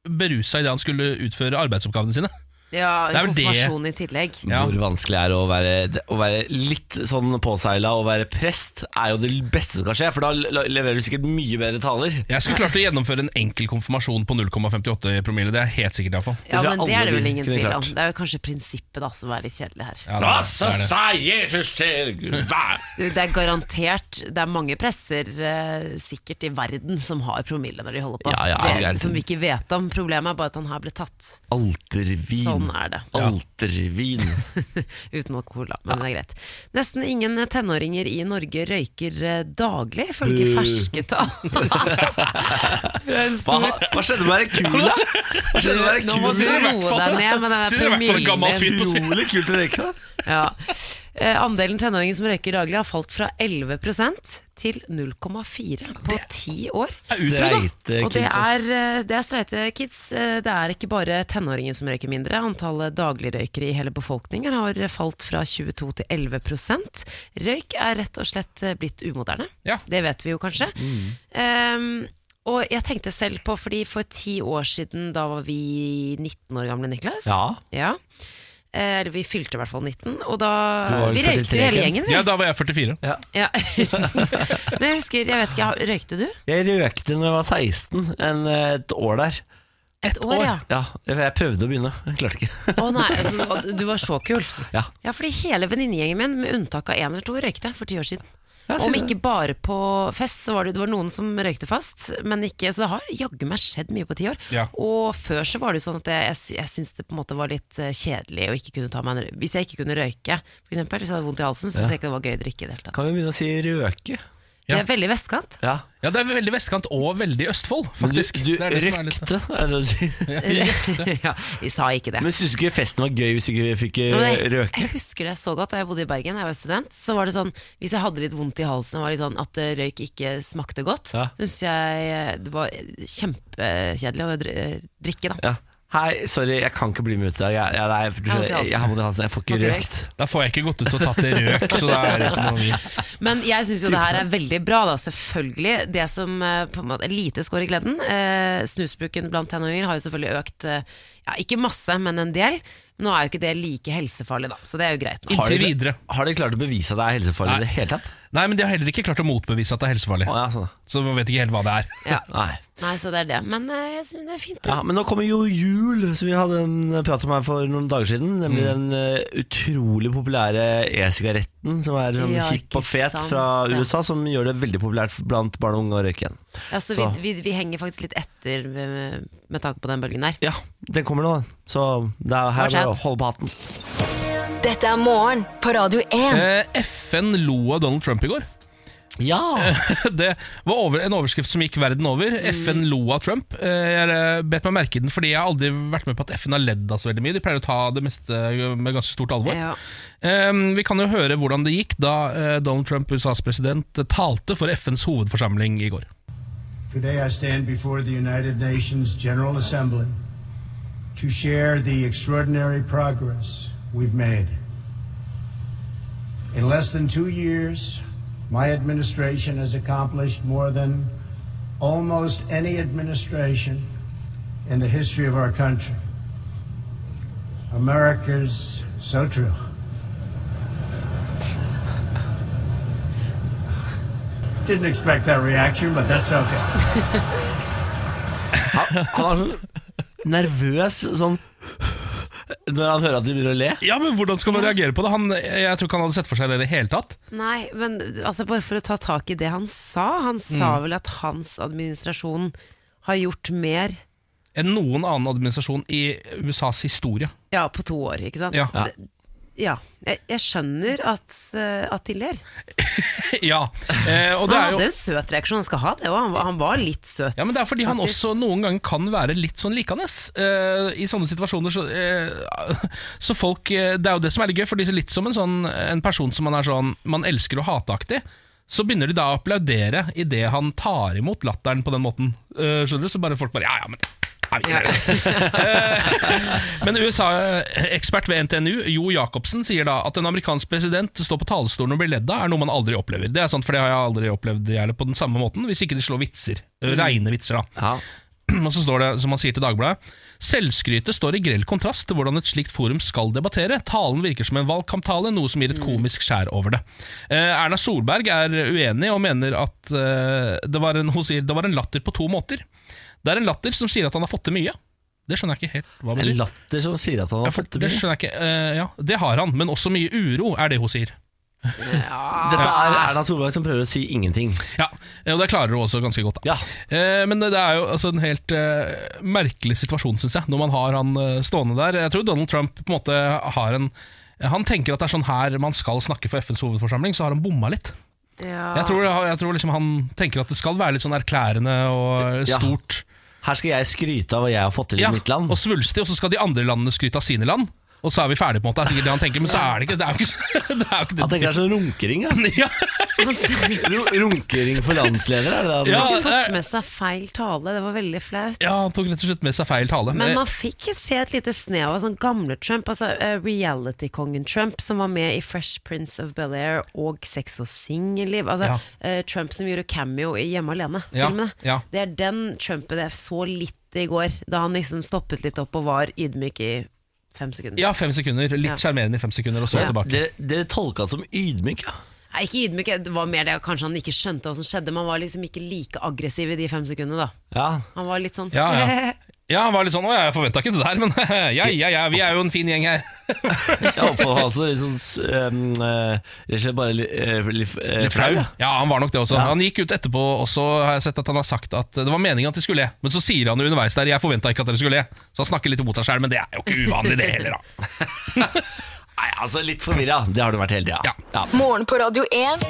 Speaker 2: berusa idet han skulle utføre arbeidsoppgavene sine.
Speaker 3: Ja,
Speaker 2: Det er vel det.
Speaker 3: konfirmasjon i tillegg.
Speaker 2: Ja.
Speaker 1: Hvor vanskelig er det å være, det- å være litt sånn påseila og være prest, er jo det beste som kan skje, for da le- leverer du sikkert mye bedre taler.
Speaker 2: Jeg skulle klart å gjennomføre en enkel konfirmasjon på 0,58 promille. Det er helt sikkert, iallfall.
Speaker 3: Ja,
Speaker 1: tror jeg
Speaker 3: men det
Speaker 1: alle
Speaker 3: er det
Speaker 1: vil
Speaker 3: vel ingen
Speaker 1: kunne
Speaker 3: tvil
Speaker 1: klart.
Speaker 3: om. Det er jo kanskje prinsippet da som er litt kjedelig her.
Speaker 2: Ja,
Speaker 1: Da
Speaker 2: det
Speaker 1: så
Speaker 2: er det.
Speaker 1: sa Jesus til Gud hva?
Speaker 3: Du, Det er garantert Det er mange prester eh, sikkert i verden som har promille når de holder på.
Speaker 1: Ja, ja,
Speaker 3: det,
Speaker 1: ja, ja.
Speaker 3: som vi ikke vet om. Problemet er bare at han her ble tatt.
Speaker 1: Altervin.
Speaker 3: Sånn er det.
Speaker 1: Altervin.
Speaker 3: Uten alkohol, da. Men det er greit. Nesten ingen tenåringer i Norge røyker eh, daglig, ifølge
Speaker 1: Buh.
Speaker 3: ferske tall. Fra en
Speaker 1: Hva,
Speaker 3: stor
Speaker 1: hva skjedde med det kula? Hva skjedde med det
Speaker 3: Nå må du
Speaker 1: kula?
Speaker 3: roe deg ned med den der
Speaker 2: Sier i hvert fall en gammel
Speaker 3: promillen.
Speaker 2: fyr på siden.
Speaker 1: Utrolig kult å røyke da.
Speaker 3: Ja. Eh, Andelen tenåringer som røyker daglig har falt fra 11 til 0,4 på ti år.
Speaker 1: Streite
Speaker 3: Og det
Speaker 1: kids, ass.
Speaker 3: er, eh, det er streite kids. Eh, Det er ikke bare tenåringer som røyker mindre. Antallet dagligrøykere i hele befolkningen har falt fra 22 til 11 Røyk er rett og slett eh, blitt umoderne.
Speaker 2: Ja.
Speaker 3: Det vet vi jo kanskje.
Speaker 1: Mm.
Speaker 3: Ehm, og jeg tenkte selv på, fordi for ti år siden, da var vi 19 år gamle, Niklas.
Speaker 1: Ja.
Speaker 3: Ja. Eh, Eller vi fylte i hvert fall 19, og
Speaker 1: Du var
Speaker 3: da
Speaker 1: vel
Speaker 3: Vi røykte
Speaker 1: 43,
Speaker 3: jo hele
Speaker 1: Ken?
Speaker 3: gjengen, vi.
Speaker 2: Ja, da var jeg 44.
Speaker 3: Ja. Men jeg husker, jeg vet ikke, har- røykte du?
Speaker 1: Jeg røkte når jeg var 16, en, et år der.
Speaker 3: Et år, ja.
Speaker 1: Ja, jeg prøvde å begynne, jeg klarte ikke.
Speaker 3: Å nei, altså, du var- du var så kul.
Speaker 1: Ja.
Speaker 3: Ja, fordi hele venninnegjengen min, med unntak av én eller to, røykte for ti år siden.
Speaker 1: Ja, si
Speaker 3: Om
Speaker 1: det.
Speaker 3: ikke bare på fest, så var det, det var noen som røykte fast. Men ikke, så det har jaggu meg skjedd mye på ti år.
Speaker 2: Ja.
Speaker 3: Og før så var det jo sånn at jeg, jeg, sy- jeg syntes det på en måte var litt eh, kjedelig å ikke kunne ta meg en røy- Hvis jeg ikke kunne røyke, for eksempel, hvis jeg hadde vondt i halsen, syntes jeg ikke det var gøy å drikke i det hele tatt.
Speaker 1: Kan vi begynne å si røke?
Speaker 2: Ja.
Speaker 3: Det er veldig vestkant.
Speaker 1: Ja.
Speaker 2: Ja, det er veldig vestkant og veldig Østfold,
Speaker 1: Men du,
Speaker 2: faktisk.
Speaker 1: du
Speaker 2: det er det som er litt-
Speaker 1: røkte, er det det du sier?
Speaker 3: ja, vi sa ikke det.
Speaker 1: Men syns du ikke festen var gøy hvis du ikke fikk eh,
Speaker 3: Ja, men jeg,
Speaker 1: røke?
Speaker 3: jeg husker det så godt da jeg bodde i Bergen, jeg var student. Så var det sånn, Hvis jeg hadde litt vondt i halsen og var litt sånn at eh, røyk ikke smakte godt,
Speaker 1: Ja.
Speaker 3: så syntes jeg eh, det var kjempekjedelig å dri- eh, drikke. da
Speaker 1: Ja. Hei, sorry, jeg kan ikke bli med ut i dag. Jeg, jeg, nei, for du
Speaker 3: Jeg har vondt i
Speaker 1: skjønner, jeg, jeg har vondt i halsen, jeg får ikke
Speaker 3: Får ikke
Speaker 1: røkt.
Speaker 2: Da får jeg ikke gått ut og tatt i røk, så da er det ikke noe vits.
Speaker 3: Men jeg syns jo det her er veldig bra, da, selvfølgelig. Det som eh, på en måte er lite skår i gleden. Eh, snusbruken blant tenåringer har jo selvfølgelig økt, eh, ja, ikke masse, men en del. Nå er jo ikke det like helsefarlig, da, så det er jo greit. nå.
Speaker 1: Har de-
Speaker 2: Inntil videre.
Speaker 1: Har de klart å bevise at det er helsefarlig i det hele tatt?
Speaker 2: Nei, men de har heller ikke klart å motbevise at det er helsefarlig.
Speaker 1: Å, ja, sånn. ja.
Speaker 2: Så man vet ikke helt hva det er.
Speaker 3: Ja.
Speaker 1: Nei.
Speaker 3: Nei, så det er det. Men eh, jeg syns det er fint.
Speaker 1: Ja,
Speaker 3: Ja.
Speaker 1: men nå kommer jo jul, som vi hadde en prat om her for noen dager siden. Nemlig
Speaker 2: Mm.
Speaker 1: den eh, utrolig populære e-sigaretten, som er sånn
Speaker 3: Ja, ikke
Speaker 1: kjip og fet
Speaker 3: sant,
Speaker 1: fra
Speaker 3: ja.
Speaker 1: USA, som gjør det veldig populært blant barn og unge å røyke igjen.
Speaker 3: så vi,
Speaker 1: så-
Speaker 3: Altså, vi, vi henger faktisk litt etter med, med tanke på den bølgen der.
Speaker 1: Ja, den kommer nå, da. så det er her
Speaker 3: Watch
Speaker 1: bare
Speaker 3: out.
Speaker 1: å holde på hatten.
Speaker 5: Dette er morgen på Radio 1.
Speaker 2: Eh, FN lo av Donald Trump i går.
Speaker 1: Ja!
Speaker 2: Det var over, en overskrift som gikk verden over. FN lo av Trump. Eh, Jeg eh, bet meg merke i den fordi jeg har aldri vært med på at FN har ledd av så veldig mye. De pleier å ta det meste eh, med ganske stort alvor.
Speaker 3: Ja.
Speaker 2: Eh, Vi kan jo høre hvordan det gikk da eh, Donald Trump, USAs president, talte for FNs hovedforsamling i går.
Speaker 4: Today I stand before the United Nations General Assembly to share the extraordinary progress we've made. In less than two years, my administration has accomplished more than almost any administration in the history of our country. America's so true. Didn't expect that reaction, but that's okay.
Speaker 1: Han var sånn nervøs sånn når han hører at de begynner å le.
Speaker 2: Ja, men Hvordan skal man reagere på det? Han, jeg tror ikke han hadde sett for seg det i det hele tatt.
Speaker 3: Nei, men altså, bare for å ta tak i det han sa. Han sa
Speaker 2: Mm.
Speaker 3: vel at hans administrasjon har gjort mer
Speaker 2: Enn noen annen administrasjon i USAs historie.
Speaker 3: ja, på to år, ikke sant?
Speaker 2: Ja.
Speaker 3: Det, ja. Jeg, jeg skjønner at, eh, at de ler.
Speaker 2: ja, eh, og det
Speaker 3: Han
Speaker 2: er jo
Speaker 3: hadde en søt reaksjon, han skal ha det òg. Han, var- han var litt søt.
Speaker 2: ja, men Det er fordi han
Speaker 3: faktisk.
Speaker 2: også noen ganger kan være litt sånn likende. Eh, I sånne situasjoner så, eh, så folk eh, Det er jo det som er litt gøy, for de er litt som en, sånn, en person som man er sånn Man elsker og hateaktig. Så begynner de da å applaudere idet han tar imot latteren på den måten. Eh, skjønner du? Så bare folk bare Ja, ja, men er vi ikke der?» Men USA-ekspert ved NTNU, Jo Jacobsen, sier da at en amerikansk president står på talerstolen og blir ledd av, er noe man aldri opplever. Det er sant, for det har jeg aldri opplevd jeg heller, på den samme måten, hvis ikke de slår vitser. eh, Reine vitser, da.
Speaker 1: Ja.
Speaker 2: Og så står det, som han sier til Dagbladet, selvskrytet står i grell kontrast til hvordan et slikt forum skal debattere. Talen virker som en valgkamptale, noe som gir
Speaker 1: Mm.
Speaker 2: et komisk skjær over det. Eh, Erna Solberg er uenig og mener at eh, det, var en, hun sier, det var en latter på to måter. Det er en latter som sier at han har fått til mye. Det skjønner jeg ikke helt hva
Speaker 1: En
Speaker 2: betyr.
Speaker 1: latter som sier at han
Speaker 2: Ja,
Speaker 1: har
Speaker 2: for
Speaker 1: fått det
Speaker 2: det
Speaker 1: mye.
Speaker 2: skjønner jeg ikke. Eh, ja, det har han, men også mye uro, er det hun sier.
Speaker 1: Dette er
Speaker 2: Ah.
Speaker 1: Erna Solberg som prøver å si ingenting.
Speaker 2: Ja, eh, Og det klarer hun også ganske godt. da.
Speaker 1: Ja.
Speaker 2: Eh, men det er jo altså, en helt eh, merkelig situasjon, syns jeg, når man har han eh, stående der. Jeg tror Donald Trump på en måte har en han tenker at det er sånn her man skal snakke for FNs hovedforsamling, så har han bomma litt.
Speaker 3: Ja.
Speaker 2: Jeg tror, jeg tror liksom han tenker at det skal være litt sånn erklærende og eh,
Speaker 1: Ja.
Speaker 2: stort.
Speaker 1: Her skal jeg skryte av hva jeg har fått til i
Speaker 2: Ja,
Speaker 1: mitt land.
Speaker 2: Og svulstig, og så skal de andre landene skryte av sine land. Og så er vi ferdige, på en måte. Det er sikkert det han tenker, men så er det ikke det. Er jo ikke, det er jo ikke det.
Speaker 1: Han tenker det er sånn runkering, ja.
Speaker 2: Ja.
Speaker 1: Ru- Runkering for landsledere, er det det?
Speaker 2: Ja,
Speaker 1: han-
Speaker 3: Han
Speaker 2: det er-
Speaker 3: tok med seg feil tale, det var veldig flaut.
Speaker 2: Ja, han tok rett og slett med seg feil tale.
Speaker 3: Men man fikk se et lite snev av sånn gamle Trump, altså eh, reality-kongen Trump, som var med i Fresh Prince of Bel-Air og Sex og singelliv. Altså
Speaker 2: Ja.
Speaker 3: eh, Trump som gjorde cameo i Hjemme
Speaker 2: Ja,
Speaker 3: alene-filmene.
Speaker 2: ja.
Speaker 3: Det er den Trumpen jeg så litt i går, da han liksom stoppet litt opp og var ydmyk i fem sekunder.
Speaker 2: Eh, ja, fem sekunder.
Speaker 3: Ja.
Speaker 2: Litt sjarmerende i fem sekunder, og så
Speaker 3: Ja.
Speaker 2: tilbake.
Speaker 1: Dere, dere tolka det som ydmyk, ja.
Speaker 3: Nei, ikke ydmyk, det var mer det kanskje han ikke skjønte hva som skjedde. Man var liksom ikke like aggressiv i de fem sekundene, da.
Speaker 1: ja.
Speaker 3: Han var litt sånn
Speaker 2: Ja, ja. Ja, han var litt sånn Å ja, jeg forventa ikke det der, men ja, ja, ja, vi er jo en fin gjeng her.
Speaker 1: Ja, for altså, liksom, s- em, eh, rett og slett bare li, eh, li, eh,
Speaker 2: Litt flau.
Speaker 1: ja.
Speaker 2: Ja, han var nok det også. Han gikk ut etterpå også, har jeg sett at han har sagt at det var meningen at de skulle le. Men så sier han jo underveis der 'jeg forventa ikke at dere skulle le'. Så han snakker litt mot seg sjøl, men det er jo ikke uvanlig, det heller, da.
Speaker 1: Nei, altså litt forvirra. Det har du vært hele tida.
Speaker 2: Ja.
Speaker 5: Morgen på Radio 1.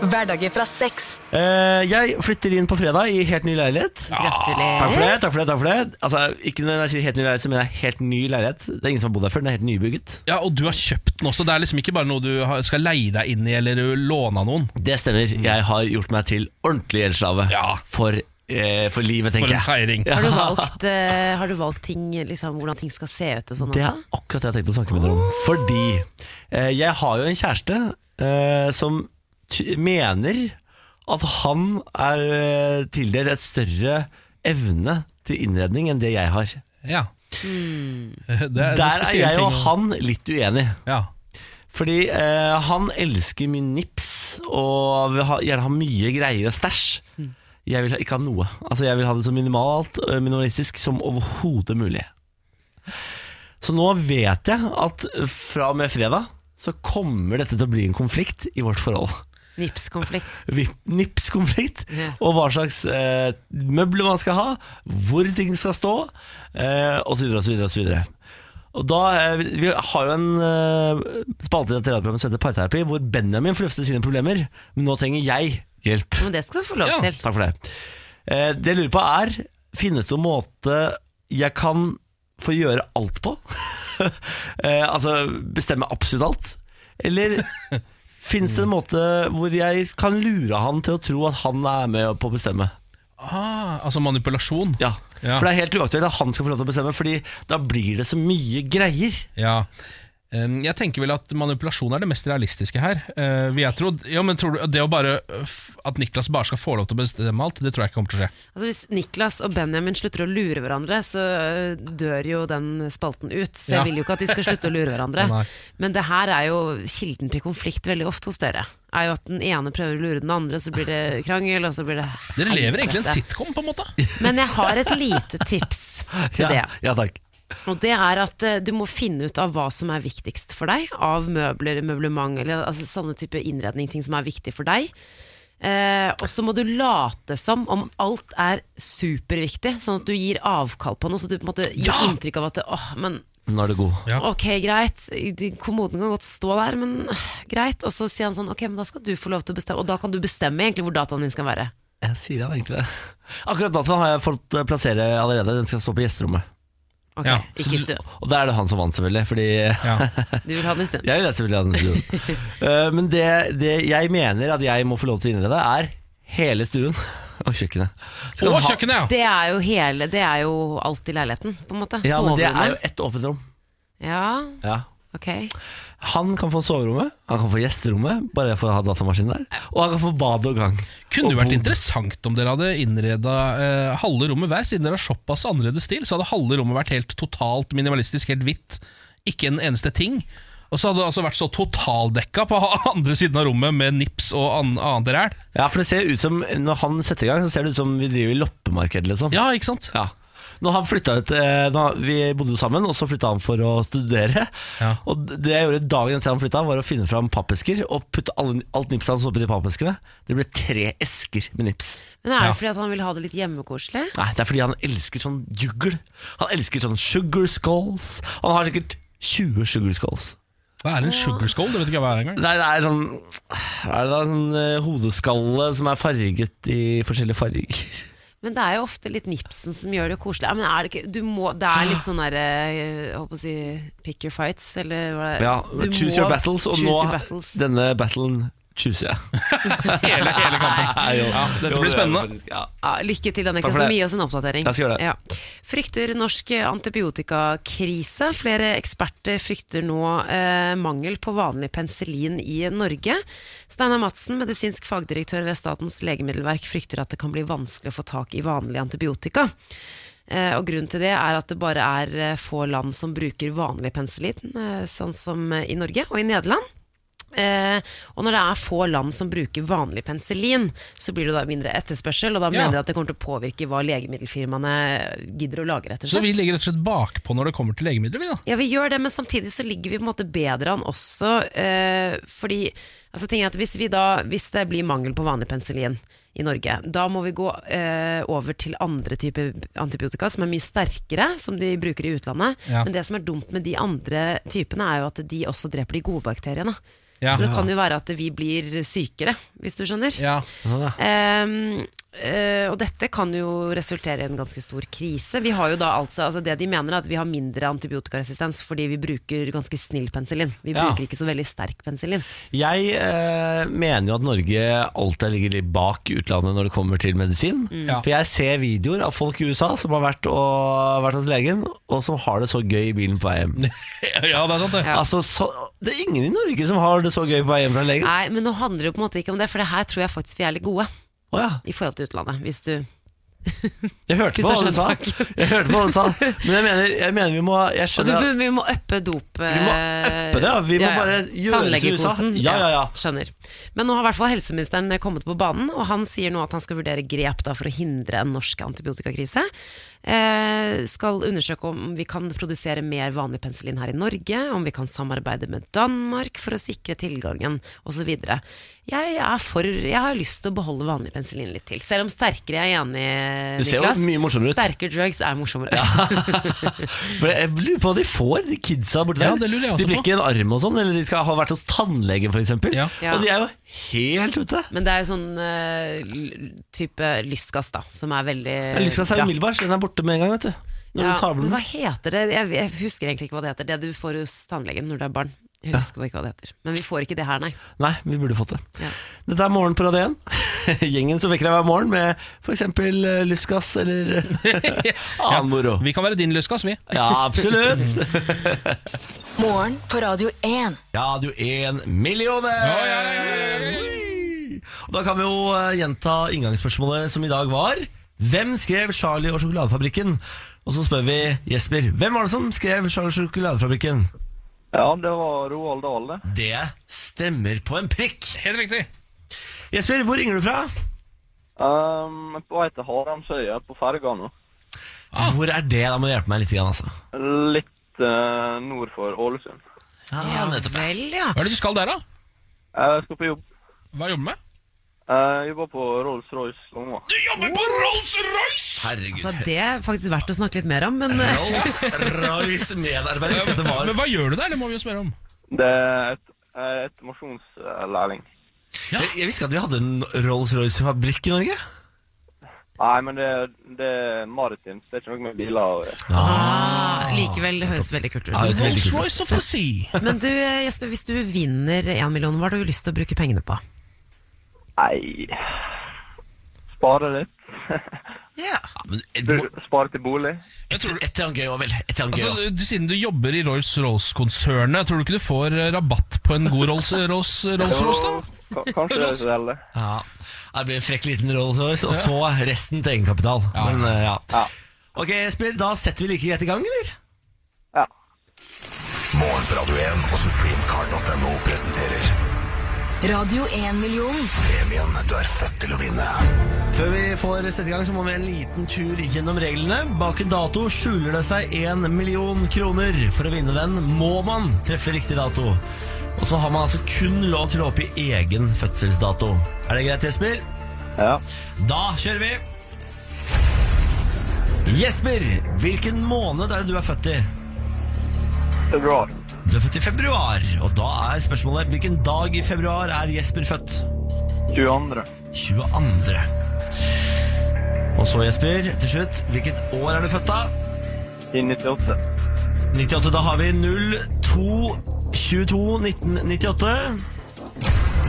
Speaker 5: Hverdager fra seks.
Speaker 1: Eh, jeg flytter inn på fredag i helt ny leilighet. Takk for
Speaker 3: Gratulerer.
Speaker 1: det. takk for det, takk for det Altså, Ikke når jeg sier helt ny leilighet, så mener jeg helt ny leilighet. Det er ingen som har bodd der før. Den er helt nybygget.
Speaker 2: Ja, Og du har kjøpt den også. Det er liksom ikke bare noe du har- skal leie deg inn i eller du låne av noen.
Speaker 1: Det stemmer. Jeg har gjort meg til ordentlig gjeldsslave
Speaker 2: Ja.
Speaker 1: for, eh, for livet,
Speaker 2: For
Speaker 1: tenker
Speaker 2: en
Speaker 1: jeg.
Speaker 2: feiring.
Speaker 3: Har du valgt, eh, har du valgt ting, liksom, hvordan ting skal se ut og sånn
Speaker 1: Det er
Speaker 3: også?
Speaker 1: akkurat det jeg tenkte å snakke med dere om. Fordi eh, jeg har jo en kjæreste eh, som ty- mener at han er eh, tildelt et større evne til innredning enn det jeg har.
Speaker 2: Ja. Eh, Det er,
Speaker 1: Der er jeg og han litt uenige.
Speaker 2: Ja.
Speaker 1: Fordi eh, han elsker mye nips og vil ha, gjerne ha mye greier og stæsj.
Speaker 2: Hmm.
Speaker 1: Jeg vil ha, ikke ha noe. Altså Jeg vil ha det så minimalt eh, minimalistisk som overhodet mulig. Så nå vet jeg at fra og med fredag så kommer dette til å bli en konflikt i vårt forhold.
Speaker 3: Nipskonflikt.
Speaker 1: Vi- Nips-konflikt,
Speaker 3: Ja.
Speaker 1: og hva slags eh, møbler man skal ha, hvor ting skal stå, eh, osv. osv. osv. Og da, eh, vi- vi har jo en eh, spalte i dette radioprogrammet som heter Parterapi, hvor Benjamin flufter sine problemer, men nå trenger jeg hjelp.
Speaker 3: Men det skal du få lov
Speaker 2: Ja.
Speaker 3: til.
Speaker 1: Takk for det. Eh, det jeg lurer på er, finnes det en måte jeg kan få gjøre alt på? eh, altså bestemme absolutt alt? Eller finnes det en måte hvor jeg kan lure han til å tro at han er med på å bestemme?
Speaker 2: Ah, altså manipulasjon.
Speaker 1: Ja.
Speaker 2: Ja.
Speaker 1: For det er helt uaktuelt at han skal få lov til å bestemme, Fordi da blir det så mye greier.
Speaker 2: Ja. Um, Jeg tenker vel at manipulasjon er det mest realistiske her. Uh, vil jeg tro. Ja, men tror du at Det å bare eh, f- At Niklas bare skal få lov til å bestemme alt, det tror jeg ikke kommer til å skje.
Speaker 3: Altså Hvis Niklas og Benjamin slutter å lure hverandre, så øh, dør jo den spalten ut. Så jeg
Speaker 2: Ja.
Speaker 3: vil jo ikke at de skal slutte å lure hverandre.
Speaker 2: Nei.
Speaker 3: Men det her er jo kilden til konflikt veldig ofte hos dere. Er jo At den ene prøver å lure den andre, så blir det krangel, og så blir det
Speaker 2: Dere lever egentlig i en
Speaker 3: helvete.
Speaker 2: sitcom, på en måte.
Speaker 3: Men jeg har et lite tips til det.
Speaker 1: Ja, ja takk.
Speaker 3: Og det er at eh, du må finne ut av hva som er viktigst for deg av møbler, møblement, eller altså, sånne type innredning, ting som er viktig for deg. Eh, og så må du late som om alt er superviktig, sånn at du gir avkall på noe, så du på en måte gir inntrykk av at det, åh, men
Speaker 1: Nå er du god.
Speaker 2: Ja.
Speaker 3: ok, greit, du- kommoden kan godt stå der, men øh, greit. Og så sier han sånn, ok, men da skal du få lov til å bestemme, og da kan du bestemme egentlig hvor dataen din skal være.
Speaker 1: Jeg sier han egentlig det. Akkurat dataen har jeg fått eh, plassere allerede. Den skal stå på gjesterommet.
Speaker 3: Ok,
Speaker 2: Ja, så
Speaker 3: ikke i
Speaker 2: du-
Speaker 3: stund.
Speaker 1: Og der er det han som vant, selvfølgelig. Fordi
Speaker 2: Ja.
Speaker 3: Du vil ha den i stund.
Speaker 1: Jeg vil selvfølgelig ha den stuen. Eh, men det, det jeg mener at jeg må få lov til å innrede, er hele stuen og kjøkkenet. Skal
Speaker 2: Og
Speaker 1: ha-
Speaker 2: kjøkkenet, ja!
Speaker 3: Det er jo hele, det er jo alt i leiligheten, på en måte.
Speaker 1: Ja, men det er
Speaker 3: Soverommet.
Speaker 1: jo ett åpent rom.
Speaker 3: Ja,
Speaker 1: Ja.
Speaker 3: ok.
Speaker 1: Han kan få soverommet, han kan få gjesterommet, bare jeg får ha datamaskinen der. Og han kan få bad og gang.
Speaker 2: Kunne
Speaker 1: og
Speaker 2: jo vært
Speaker 1: bod.
Speaker 2: interessant om dere hadde innreda eh, halve rommet hver, siden dere har såpass annerledes stil. Så hadde halve rommet vært helt totalt minimalistisk, helt hvitt. Ikke en eneste ting. Og så hadde det altså vært så totaldekka på andre siden av rommet med nips og an annet ræl.
Speaker 1: Ja, for det ser ut som Når han setter i gang, så ser det ut som vi driver i loppemarked, liksom.
Speaker 2: Ja, ikke sant?
Speaker 1: Ja. Når han flytta ut eh, da Vi bodde jo sammen, og så flytta han for å studere.
Speaker 2: Ja.
Speaker 1: Og det jeg gjorde dagen etter han flytta, var å finne fram pappesker og putte alle, alt nipset hans oppi de pappeskene. Det ble tre esker med nips.
Speaker 3: Men er det
Speaker 2: Ja.
Speaker 3: fordi at han vil ha det litt hjemmekoselig?
Speaker 1: Nei, det er fordi han elsker sånn juggel. Han elsker sånn sugar skulls. Han har sikkert 20 sugar skulls.
Speaker 2: Hva er en sugar skull? Det vet ikke jeg hva er engang.
Speaker 1: Nei, det er sånn Hva er det da? Sånn eh, hodeskalle som er farget i forskjellige farger.
Speaker 3: Men det er jo ofte litt nipsen som gjør det koselig. Ja, men er det, ikke, du må, det er litt sånn derre Jeg holdt på å si pick your fights, eller hva det er.
Speaker 1: Ja,
Speaker 3: Du
Speaker 1: choose
Speaker 3: må
Speaker 1: your battles, og
Speaker 3: choose
Speaker 1: nå
Speaker 3: your battles.
Speaker 1: Denne battlen chooser jeg.
Speaker 2: Hele, hele kampen.
Speaker 1: Nei, jo.
Speaker 2: Ja,
Speaker 1: Jo,
Speaker 2: dette blir
Speaker 1: det gjør det
Speaker 2: spennende.
Speaker 1: faktisk, Ja.
Speaker 3: Ja, lykke til, Annika,
Speaker 1: Takk for
Speaker 3: som
Speaker 1: det.
Speaker 3: gir oss en oppdatering.
Speaker 1: Jeg skal gjøre det.
Speaker 3: Ja. Frykter norsk antibiotikakrise. Flere eksperter frykter nå eh, mangel på vanlig penicillin i Norge. Steinar Madsen, medisinsk fagdirektør ved Statens legemiddelverk, frykter at det kan bli vanskelig å få tak i vanlig antibiotika. Eh, og grunnen til det er at det bare er eh, få land som bruker vanlig penicillin, eh, sånn som eh, i Norge og i Nederland. Eh, og når det er få land som bruker vanlig penicillin, så blir det da mindre etterspørsel, og da
Speaker 2: Ja.
Speaker 3: mener jeg at det kommer til å påvirke hva legemiddelfirmaene gidder å lage, rett og
Speaker 2: Så
Speaker 3: slett.
Speaker 2: vi ligger rett og slett bakpå når det kommer til legemidler, vi da.
Speaker 3: Ja, vi gjør det, men samtidig så ligger vi på en måte bedre an også, eh, fordi altså, ting er at hvis, vi da, hvis det blir mangel på vanlig penicillin i Norge, da må vi gå eh, over til andre typer antibiotika som er mye sterkere, som de bruker i utlandet.
Speaker 2: Ja.
Speaker 3: Men det som er dumt med de andre typene, er jo at de også dreper de gode bakteriene.
Speaker 2: Ja.
Speaker 3: så det kan jo være at vi blir sykere, hvis du skjønner.
Speaker 2: Ja.
Speaker 3: Ehm, eh, og dette kan jo resultere i en ganske stor krise. Vi har jo da altså, altså Det de mener er at vi har mindre antibiotikaresistens fordi vi bruker ganske snill penicillin. Vi
Speaker 1: Ja.
Speaker 3: bruker ikke så veldig sterk penicillin.
Speaker 1: Jeg eh, mener jo at Norge alltid ligger litt bak utlandet når det kommer til medisin.
Speaker 2: Ja.
Speaker 1: For jeg ser videoer av folk i USA som har vært, og, vært hos legen, og som har det så gøy i bilen på vei hjem.
Speaker 2: ja, det er sant, det.
Speaker 3: Ja.
Speaker 1: Altså, så, det er ingen i Norge som har det så gøy på vei hjem fra legen.
Speaker 3: Nei, men nå handler det jo på en måte ikke om det, for det her tror jeg faktisk vi er litt gode
Speaker 1: Å ja.
Speaker 3: i forhold til utlandet. Hvis du
Speaker 1: Jeg hørte på hva du sa. Jeg hørte på hva du sa. Men jeg mener, jeg mener vi må Jeg
Speaker 3: Og du,
Speaker 1: skjønner at-
Speaker 3: vi må uppe dop eh,
Speaker 1: Vi må uppe det, ja. Vi må bare gjøre det som i USA.
Speaker 3: Tannlegekosen.
Speaker 1: Ja, ja, ja.
Speaker 3: Skjønner. Men nå har i hvert fall helseministeren kommet på banen, og han sier nå at han skal vurdere grep da, for å hindre en norsk antibiotikakrise. Eh, skal undersøke om vi kan produsere mer vanlig penicillin her i Norge, om vi kan samarbeide med Danmark for å sikre tilgangen, osv. Jeg, er for, jeg har lyst til å beholde vanlig penicillin litt til, selv om sterkere jeg er enig,
Speaker 1: Det ser jo
Speaker 3: Niklas.
Speaker 1: mye morsommere ut.
Speaker 3: Sterkere drugs er morsommere.
Speaker 1: For jeg lurer på hva de får, de kidsa borti
Speaker 2: Ja,
Speaker 1: der.
Speaker 2: det lurer jeg også
Speaker 1: de blir
Speaker 2: på.
Speaker 1: ikke en arm og sånn, eller de skal ha vært hos tannlegen f.eks. eksempel
Speaker 2: Ja.
Speaker 3: Ja.
Speaker 1: Og de er jo helt ute.
Speaker 3: Men det er jo sånn eh, l- type lystgass, da, som er veldig
Speaker 1: Lyska seg
Speaker 3: bra.
Speaker 1: umiddelbart, den er borte med en gang, vet du. Når
Speaker 3: Ja,
Speaker 1: du tar
Speaker 3: men
Speaker 1: den
Speaker 3: hva heter det? Jeg, jeg husker egentlig ikke hva det heter. Det du får hos tannlegen når du er barn. Jeg husker bare ikke hva det heter. Men vi får ikke det her, nei.
Speaker 1: Nei, vi burde fått det.
Speaker 3: Ja.
Speaker 1: Dette er Morgen på Radio 1. Gjengen som vekker deg hver morgen med f.eks. lystgass eller annen moro.
Speaker 2: Vi kan være din lystgass, vi.
Speaker 1: Ja, absolutt.
Speaker 5: Morgen på Radio 1.
Speaker 1: Ja, du er en millioner! Og Da kan vi jo eh, gjenta inngangsspørsmålet som i dag var Hvem skrev Charlie og sjokoladefabrikken? Og så spør vi Jesper Hvem var det som skrev Charlie og sjokoladefabrikken?
Speaker 6: Ja, det var Roald Dahl, det.
Speaker 1: Det stemmer på en prikk
Speaker 2: Helt riktig.
Speaker 1: Jesper, hvor ringer du fra?
Speaker 6: Um, på vei til Haramsøya på ferga nå.
Speaker 1: Hvor er det? Da må du hjelpe meg litt igjen altså
Speaker 6: Litt eh, nord for Ålesund.
Speaker 1: Ja, nettopp
Speaker 3: Vel, ja.
Speaker 2: Hva er det du skal der, da?
Speaker 6: Jeg skal på jobb.
Speaker 2: Hva jobber du med?
Speaker 6: Jeg jobber på Rolls-Royce Lomma.
Speaker 2: Du jobber på Rolls-Royce!
Speaker 1: Herregud
Speaker 3: Så det er faktisk verdt å snakke litt mer om, men eh,
Speaker 1: Rolls-Royce medarbeider Så det var
Speaker 2: Men hva gjør du der, det må vi jo spørre om.
Speaker 6: Det er et, jeg er estimasjonslærling.
Speaker 1: jeg, jeg visste ikke at vi hadde en Rolls-Royce-fabrikk i Norge
Speaker 6: Nei, men det, det er maritimt. Det er ikke noe med biler. å gjøre.
Speaker 3: ah, likevel det høres veldig kult
Speaker 1: Ja, det
Speaker 3: ut.
Speaker 1: er veldig kult.
Speaker 2: Rolls-Royce of the Sea.
Speaker 3: Men du eh, Jesper, hvis du vinner én million, hva har du lyst til å bruke pengene på?
Speaker 6: Nei Spare litt.
Speaker 1: ja,
Speaker 3: Ja.
Speaker 1: men, et,
Speaker 6: Du, Spare til bolig.
Speaker 1: et, et, eller annet gøy også vel Et eller annet gøy
Speaker 2: Altså,
Speaker 1: også
Speaker 2: du, siden du jobber i Rolls-Royce-konsernet, tror du ikke du får eh, rabatt på en god Rolls-Royce, Rolls Rolls, da?
Speaker 6: Ka- Kanskje det er så heldig.
Speaker 1: Ja, det blir en frekk liten Rolls-Royce, og så resten til egenkapital. Men, eh, ja.
Speaker 6: Ja.
Speaker 1: Ok, Jesper, da setter vi like greit i gang, eller?
Speaker 6: Ja.
Speaker 7: Morgen på Radio 1 og supremecard.no presenterer
Speaker 5: Radio 1-million.
Speaker 7: premien du er født til å vinne.
Speaker 1: Før vi får sette i gang, så må vi en liten tur gjennom reglene. Bak en dato skjuler det seg én million kroner. For å vinne den må man treffe riktig dato. Og så har man altså kun lov til å oppgi egen fødselsdato. Er det greit, Jesper?
Speaker 6: ja.
Speaker 1: Da kjører vi! Jesper, hvilken måned er det du er født i?
Speaker 6: Februar.
Speaker 1: Du er født i februar, og da er spørsmålet Hvilken dag i februar er Jesper født?
Speaker 6: 22.
Speaker 1: 22. Og så, Jesper, til slutt, hvilket år er du født da?
Speaker 6: I 98.
Speaker 1: 98, da har vi 02.22.1998.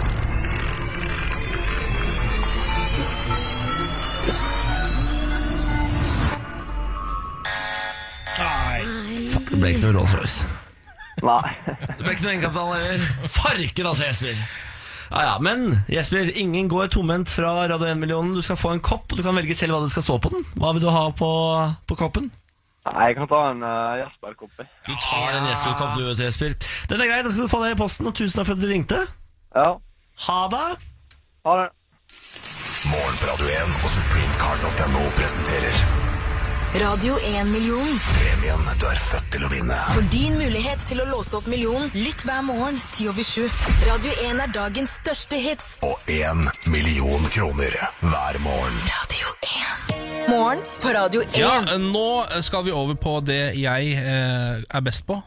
Speaker 1: Fuck, det ble ikke noe Rolls-Royce.
Speaker 6: Nei.
Speaker 1: Det ble ikke noe egenkapital heller. Farken altså, Jesper. Ja, ja, Men Jesper, ingen går tomhendt fra Radio 1-millionen. Du skal få en kopp, og du kan velge selv hva det skal stå på den. Hva vil du ha på, på koppen?
Speaker 6: Nei, jeg kan ta en uh, Jesper-kopi.
Speaker 1: Du tar en Jesper-kopp, du, vet du, Jesper. Den er grei, da skal du få det i posten, og tusen takk for at du ringte.
Speaker 6: Ja,
Speaker 1: Ha det!
Speaker 6: ha det.
Speaker 7: Morgen på Radio 1 og supremecard.no presenterer
Speaker 5: Radio 1 million.
Speaker 7: premien du er født til å vinne.
Speaker 5: For din mulighet til å låse opp millionen, lytt hver morgen 10 over 7. Radio 1 er dagens største hits.
Speaker 7: Og én million kroner hver morgen.
Speaker 5: Radio 1. Morgen på Radio 1.
Speaker 2: Ja, eh, nå skal vi over på det jeg eh, er best på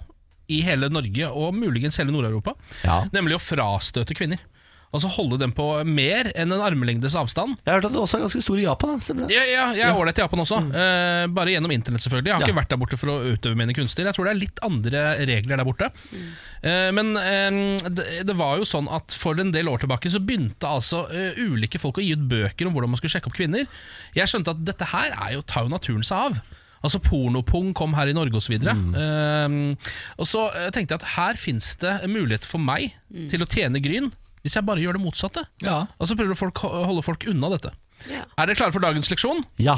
Speaker 2: i hele Norge, og muligens hele Nord-Europa.
Speaker 1: Ja.
Speaker 2: Nemlig å frastøte kvinner. Altså holde dem på mer enn en armlengdes avstand.
Speaker 1: Jeg har hørt at du også er ganske stor i Japan. da, Mm. Stemmer det?
Speaker 2: Ja, ja, jeg er ålreit i Japan også. Eh, bare gjennom internett, selvfølgelig. Jeg har ikke vært der borte for å utøve mine kunster. Jeg tror det er litt andre regler der borte.
Speaker 1: Mm.
Speaker 2: Eh, men eh, det, det var jo sånn at for en del år tilbake så begynte altså eh, ulike folk å gi ut bøker om hvordan man skulle sjekke opp kvinner. Jeg skjønte at dette her er jo, tar jo naturen seg av. Altså Pornopung kom her i Norge osv. Mm. og så eh, tenkte jeg at her fins det muligheter for meg til å tjene gryn, hvis jeg bare gjør det motsatte.
Speaker 1: Mm. Ja.
Speaker 2: Og så prøver å folk, holde folk unna dette.
Speaker 3: Ja.
Speaker 2: Er dere klare for dagens leksjon?
Speaker 1: ja.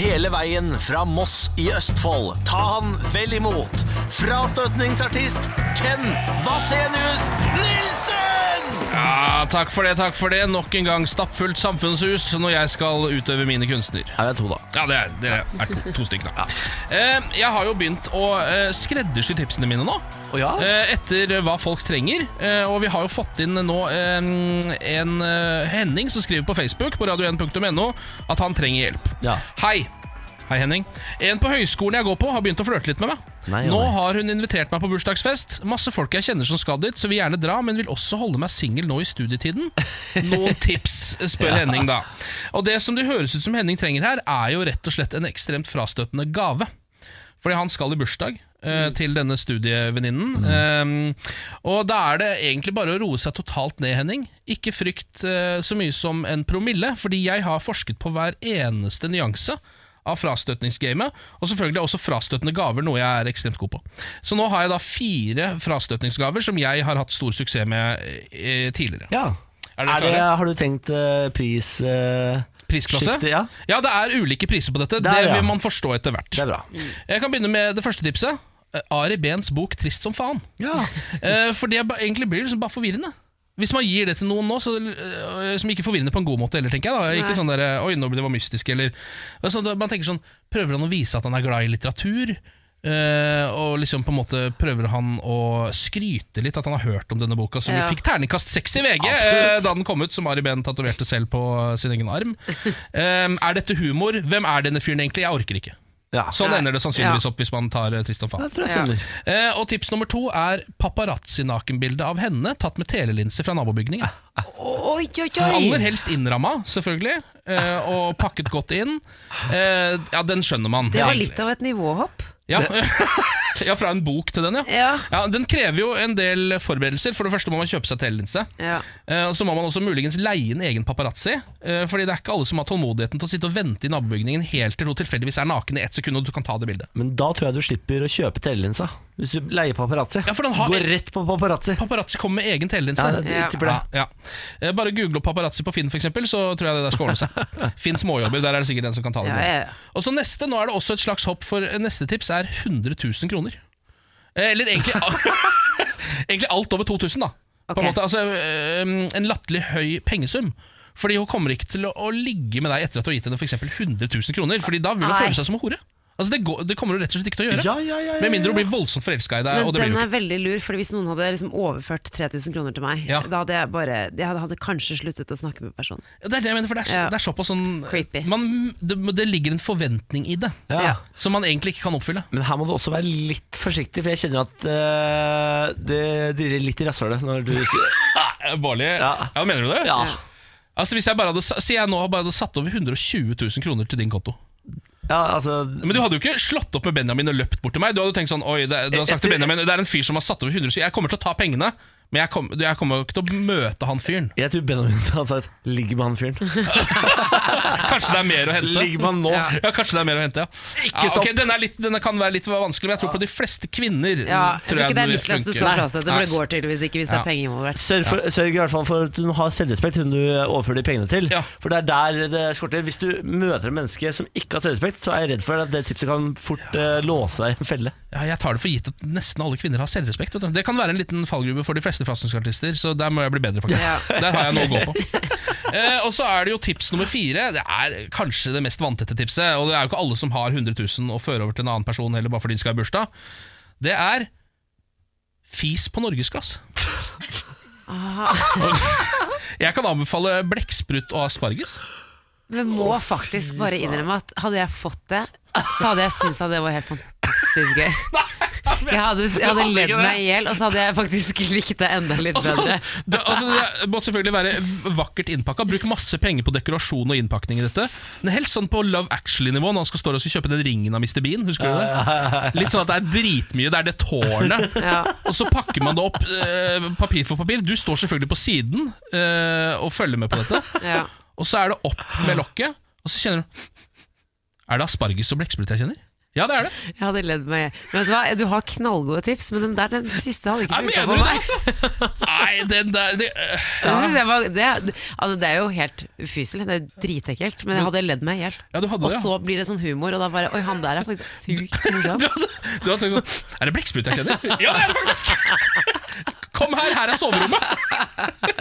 Speaker 8: Hele veien fra Moss i Østfold. Ta han vel imot. Frastøtningsartist Ken Vasenius Nilsen!
Speaker 2: Ja, takk for det, takk for det. Nok en gang stappfullt samfunnshus når jeg skal utøve mine kunstner.
Speaker 1: Jeg vet to, da.
Speaker 2: Ja, det er, det er to, to stykker, da. Eh, Jeg har jo begynt å eh, skreddersy tipsene mine nå.
Speaker 1: Å ja?
Speaker 2: eh, Etter hva folk trenger. Eh, Og vi har jo fått inn nå eh, en eh, Henning som skriver på Facebook på radio1.no at han trenger hjelp.
Speaker 1: Ja.
Speaker 2: Hei. Hei, Henning. En på høyskolen jeg går på, har begynt å flørte litt med meg.
Speaker 1: Nei,
Speaker 2: Nå
Speaker 1: nei.
Speaker 2: har hun invitert meg på bursdagsfest. Masse folk jeg kjenner som skal dit, så vil gjerne dra, men vil også holde meg singel nå i studietiden. Noen tips, spør Henning da. Og det som det høres ut som Henning trenger her, er jo rett og slett en ekstremt frastøtende gave. Fordi han skal i bursdag eh,
Speaker 1: Mm.
Speaker 2: til denne studievenninnen. Eh, og da er det egentlig bare å roe seg totalt ned, Henning. Ikke frykt eh, så mye som en promille, fordi jeg har forsket på hver eneste nyanse av frastøtningsgamet, og selvfølgelig er også frastøtende gaver noe jeg er ekstremt god på. Så nå har jeg da fire frastøtningsgaver som jeg har hatt stor suksess med eh, tidligere.
Speaker 1: ja.
Speaker 2: Er
Speaker 1: Er
Speaker 2: dere
Speaker 1: det,
Speaker 2: klare?
Speaker 1: har du tenkt eh, pris... eh,
Speaker 2: Prisklasse?
Speaker 1: Skiktet, ja.
Speaker 2: det er ulike priser på dette.
Speaker 1: Der,
Speaker 2: det
Speaker 1: ja.
Speaker 2: vil man forstå etter hvert.
Speaker 1: Det er bra.
Speaker 2: Jeg kan begynne med det første tipset. Eh, Ari Behns bok 'Trist som faen'.
Speaker 1: Ja.
Speaker 2: Eh, For det ba- egentlig blir liksom bare forvirrende. Hvis man gir det til noen nå, så, eh, som ikke er forvirrende på en god måte heller, tenker jeg da. Ikke sånn der, Oi, nå ble det var mystisk, eller altså, da- Man tenker sånn Prøver han å vise at han er glad i litteratur? Eh, og liksom på en måte prøver han å skryte litt at han har hørt om denne boka, som
Speaker 3: Ja.
Speaker 2: vi fikk terningkast seks i VG
Speaker 1: Absolutt.
Speaker 2: eh, da den kom ut, som Ari Behn tatoverte selv på eh, sin egen arm. Eh, er dette humor? Hvem er denne fyren egentlig? Jeg orker ikke.
Speaker 1: ja.
Speaker 2: Sånn
Speaker 3: Nei.
Speaker 2: ender det sannsynligvis opp hvis man tar eh, Tristan Faen.
Speaker 1: Det tror jeg stemmer.
Speaker 2: Eh, og tips nummer to er paparazzi-nakenbilde av henne tatt med telelinser fra nabobygningen.
Speaker 3: Oi, oi,
Speaker 2: Aller
Speaker 3: oi!
Speaker 2: helst innramma, selvfølgelig, eh, og pakket godt inn. Eh, ja, den skjønner man.
Speaker 3: Det var
Speaker 2: egentlig.
Speaker 3: litt av et nivåhopp.
Speaker 2: Ja. ja, fra en bok til den, ja.
Speaker 3: Ja.
Speaker 2: Den krever jo en del forberedelser. For det første må man kjøpe seg telelinse.
Speaker 3: Ja.
Speaker 2: Eh, og så må man også muligens leie en egen paparazzi. Eh, fordi det er ikke alle som har tålmodigheten til å sitte og vente i nabobygningen helt til hun tilfeldigvis er naken i ett sekund, og du kan ta det bildet.
Speaker 1: Men da tror jeg du slipper å kjøpe telelinsa. Hvis du leier paparazzi.
Speaker 2: Ja, for den har-
Speaker 1: Går rett på paparazzi.
Speaker 2: Paparazzi kommer med egen telelinse.
Speaker 1: Ja, det, det,
Speaker 3: Ja.
Speaker 1: tipper det.
Speaker 2: Ja, ja. Eh, Bare google opp paparazzi på Finn, for eksempel, så tror jeg det der skal ordne seg. Finn småjobber, der er det sikkert en som kan ta det.
Speaker 3: Ja, ja, ja.
Speaker 2: Og så neste, nå er det også et slags hopp, for eh, neste tips er 100 000 kroner. Eh, Eller egentlig, egentlig alt over 2000, da. På
Speaker 3: Ok.
Speaker 2: en måte, altså eh, En latterlig høy pengesum. Fordi hun kommer ikke til å, å ligge med deg etter at du har gitt henne for eksempel 100 000 kroner, Fordi da vil hun
Speaker 3: Nei.
Speaker 2: føle seg som en hore. Altså det, går, det kommer hun rett og slett ikke til å gjøre.
Speaker 1: Ja, ja, ja, ja,
Speaker 2: Med mindre hun blir voldsomt forelska i deg.
Speaker 3: Men
Speaker 2: Eh, og det blir hun
Speaker 3: den
Speaker 2: ikke.
Speaker 3: er veldig lur, for hvis noen hadde liksom overført 3000 kroner til meg,
Speaker 2: Ja.
Speaker 3: da hadde jeg bare Jeg hadde, hadde kanskje sluttet å snakke med personen.
Speaker 2: Ja, Det er det jeg mener, for det er, så-
Speaker 3: Ja.
Speaker 2: det er såpass sånn
Speaker 3: Creepy.
Speaker 2: man, det, det ligger en forventning i det
Speaker 1: Ja.
Speaker 3: Ja.
Speaker 2: som man egentlig ikke kan oppfylle.
Speaker 1: Men her må du også være litt forsiktig, for jeg kjenner jo at eh, det dirrer litt i rasshølet når du sier
Speaker 2: Bårli,
Speaker 1: Ja.
Speaker 2: Eh, mener du det?
Speaker 1: ja.
Speaker 2: Altså Hvis jeg bare hadde, sa- si jeg nå bare hadde satt over 120 000 kroner til din konto
Speaker 1: ja, altså
Speaker 2: Men du hadde jo ikke slått opp med Benjamin og løpt bort til meg. Du hadde jo tenkt sånn Oi, det, er- du hadde sagt til Benjamin det er en fyr som har satt over 100 000, jeg kommer til å ta pengene. Men jeg, kom, jeg kommer jo ikke til å møte han fyren.
Speaker 1: Jeg tror Benjamin hadde sagt 'ligg med han fyren'.
Speaker 2: Kanskje det er mer å hente.
Speaker 1: Ligger man nå?
Speaker 2: Ja, ja, kanskje det er mer å hente, ja. ja
Speaker 1: stopp.
Speaker 2: ok, denne, er litt, denne kan være litt vanskelig, men jeg tror på de fleste kvinner
Speaker 3: Ja, jeg tror ikke det er
Speaker 2: den
Speaker 3: Niklas du
Speaker 2: funker.
Speaker 3: skal frastøte, for
Speaker 2: Nei.
Speaker 3: det går tydeligvis ikke hvis det
Speaker 2: Ja.
Speaker 3: er penger involvert.
Speaker 1: Sørg, for, sørg i hvert fall for at hun har selvrespekt, hun du eh, overfører de pengene til.
Speaker 2: Ja.
Speaker 1: For det er der det skorter. Hvis du møter et menneske som ikke har selvrespekt, så er jeg redd for at det tipset kan fort eh, låse deg i en felle.
Speaker 2: Ja, jeg tar det for gitt at nesten alle kvinner har selvrespekt. vet du. Det kan være en liten fallgruve for de fleste fastenskartister, så der må jeg bli bedre, faktisk. Der har jeg noe å gå på. Eh, og så er det jo tips nummer fire. Det er kanskje det mest vanntette tipset, og det er jo ikke alle som har 100 000 å føre over til en annen person heller bare fordi de skal ha bursdag. Det er fis på norgesglass. Jeg kan anbefale blekksprut og asparges.
Speaker 3: Men må faktisk bare innrømme at hadde jeg fått det, så hadde jeg syntes at det var helt fantastisk gøy. Jeg hadde, jeg hadde
Speaker 2: hadde
Speaker 3: ledd
Speaker 2: ikke det.
Speaker 3: meg i hjel, og så hadde jeg faktisk likt det enda litt
Speaker 2: Altså,
Speaker 3: bedre.
Speaker 2: det, altså, det må selvfølgelig være vakkert innpakka. Bruk masse penger på dekorasjon og innpakning i dette. Men helst sånn på Love Actually-nivå, når han skal stå og skal kjøpe den ringen av Mr. Bean. Husker du det? Litt sånn at det er dritmye. Det er det tårnet.
Speaker 3: Ja.
Speaker 2: Og så pakker man det opp eh, papir for papir. Du står selvfølgelig på siden eh, og følger med på dette.
Speaker 3: Ja.
Speaker 2: Og så er det opp med lokket, og så kjenner du Er det asparges og blekksprut jeg kjenner? Ja, det er det.
Speaker 3: Jeg hadde ledd meg i hjel. Men vet du hva, du har knallgode tips, men den der den siste hadde ikke
Speaker 2: Jeg
Speaker 3: funka
Speaker 2: mener
Speaker 3: for
Speaker 2: du det,
Speaker 3: meg.
Speaker 2: altså? Nei, den der det, øh.
Speaker 3: Det, synes jeg var, det, altså det er jo helt ufyselig, det er jo dritekkelt, men jeg hadde ledd meg i hjel.
Speaker 2: Ja, du hadde
Speaker 3: Og
Speaker 2: det, ja.
Speaker 3: så blir det sånn humor, og da bare Oi, han der er faktisk sykt morsom.
Speaker 2: Du hadde, du hadde tenkt sånn Er det blekksprut jeg kjenner? Ja, det er det faktisk! Kom her, her er soverommet!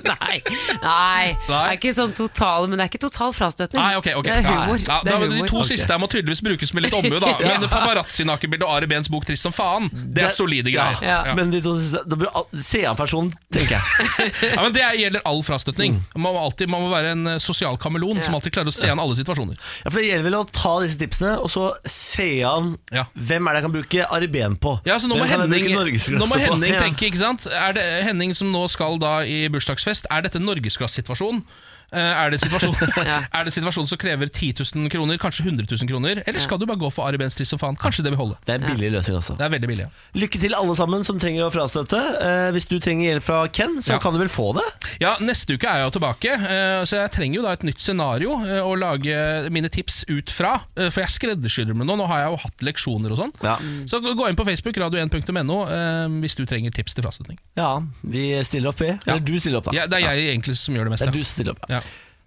Speaker 3: Nei. Nei. Det er ikke sånn total Men det er ikke total frastøtning.
Speaker 2: Nei, ok, ok
Speaker 3: Det er humor.
Speaker 2: Ja,
Speaker 3: det
Speaker 2: da,
Speaker 3: er
Speaker 2: men
Speaker 3: humor.
Speaker 2: De to siste her må tydeligvis brukes med litt omhu, da. Men paparazzi-nakenbildet og Ari Behns bok 'Trist som faen', det er solide
Speaker 1: Ja,
Speaker 2: greier.
Speaker 3: Ja.
Speaker 1: Men de to siste Da bør al- se an personen, tenker jeg.
Speaker 2: Ja, men Det gjelder all frastøtning.
Speaker 3: Mm.
Speaker 2: Man må, alltid, man må være en eh, sosial kameleon som alltid klarer å se an alle situasjoner.
Speaker 1: Ja, for Det gjelder vel å ta disse tipsene og så se an
Speaker 2: Ja.
Speaker 1: hvem er det jeg kan bruke Ariben på.
Speaker 2: Ja, så nå må
Speaker 1: Hvem kan jeg
Speaker 2: Henning,
Speaker 1: bruke
Speaker 2: nå
Speaker 1: norgesglasset
Speaker 2: må
Speaker 1: på?
Speaker 2: Henning
Speaker 1: Ja.
Speaker 2: tenke, ikke sant? Er det Henning som nå skal da i bursdagsfest, er dette en norgesklassesituasjon? Eh, Er det, en situasjon, er det en situasjon som krever 10 000 kroner, kanskje 100 000 kroner? Eller skal du bare gå for Ari Behns Triss og faen? Kanskje det vil holde.
Speaker 1: Det er en billig løsning også.
Speaker 2: Det er veldig billig. Ja,
Speaker 1: Lykke til alle sammen som trenger å frastøte. Eh, hvis du trenger hjelp fra Ken, så
Speaker 2: Ja.
Speaker 1: kan du vel få det?
Speaker 2: ja Neste uke er jeg jo tilbake, eh, så jeg trenger jo da et nytt scenario eh, å lage mine tips ut fra. eh, For jeg skreddersyr dem nå. Nå har jeg jo hatt leksjoner og sånn.
Speaker 1: Ja.
Speaker 2: Så gå inn på Facebook, radio1.no, eh, hvis du trenger tips til frastøtning.
Speaker 1: ja, vi stiller opp, vi. Eller du stiller opp, da.
Speaker 2: Ja, det er jeg egentlig som gjør det
Speaker 1: Det
Speaker 2: meste.
Speaker 1: er du som stiller opp.
Speaker 2: Ja.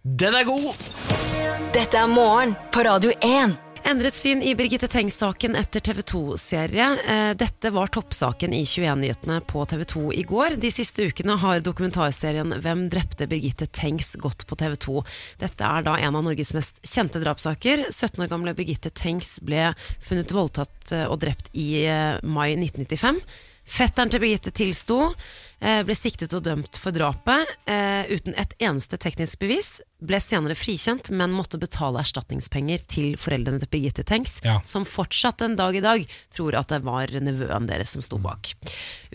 Speaker 1: Den er god!
Speaker 5: Dette er morgen på Radio 1.
Speaker 3: Endret syn i Birgitte Tengs-saken etter TV 2-serie. Eh, Dette var toppsaken i 21-nyhetene på TV 2 i går. De siste ukene har dokumentarserien Hvem drepte Birgitte Tengs gått på TV 2. Dette er da en av Norges mest kjente drapssaker. 17 år gamle Birgitte Tengs ble funnet voldtatt eh, og drept i eh, mai 1995. Fetteren til Birgitte tilsto, eh, ble siktet og dømt for drapet eh, uten et eneste teknisk bevis. Ble senere frikjent, men måtte betale erstatningspenger til foreldrene til Birgitte Tengs,
Speaker 2: Ja.
Speaker 3: som fortsatt en dag i dag tror at det var nevøen deres som sto bak.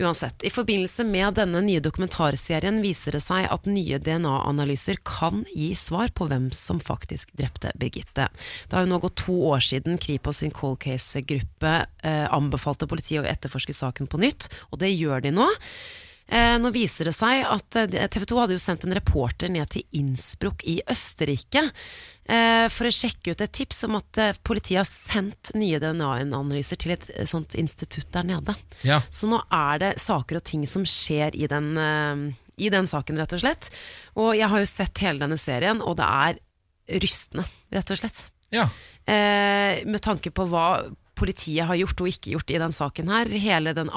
Speaker 3: Uansett, i forbindelse med denne nye dokumentarserien viser det seg at nye DNA-analyser kan gi svar på hvem som faktisk drepte Birgitte. Det har jo nå gått to år siden Kripos sin cold case-gruppe eh, anbefalte politiet å etterforske saken på nytt, og det gjør de nå. Eh, nå viser det seg at TV 2 hadde jo sendt en reporter ned til Innsbruck i Østerrike eh, for å sjekke ut et tips om at eh, politiet har sendt nye DNA-analyser til et eh, sånt institutt der nede.
Speaker 2: Ja.
Speaker 3: Så nå er det saker og ting som skjer i den, eh, i den saken, rett og slett. Og jeg har jo sett hele denne serien, og det er rystende, rett og slett.
Speaker 2: Ja.
Speaker 3: Eh, med tanke på hva politiet har gjort og ikke gjort i den saken her. Hele den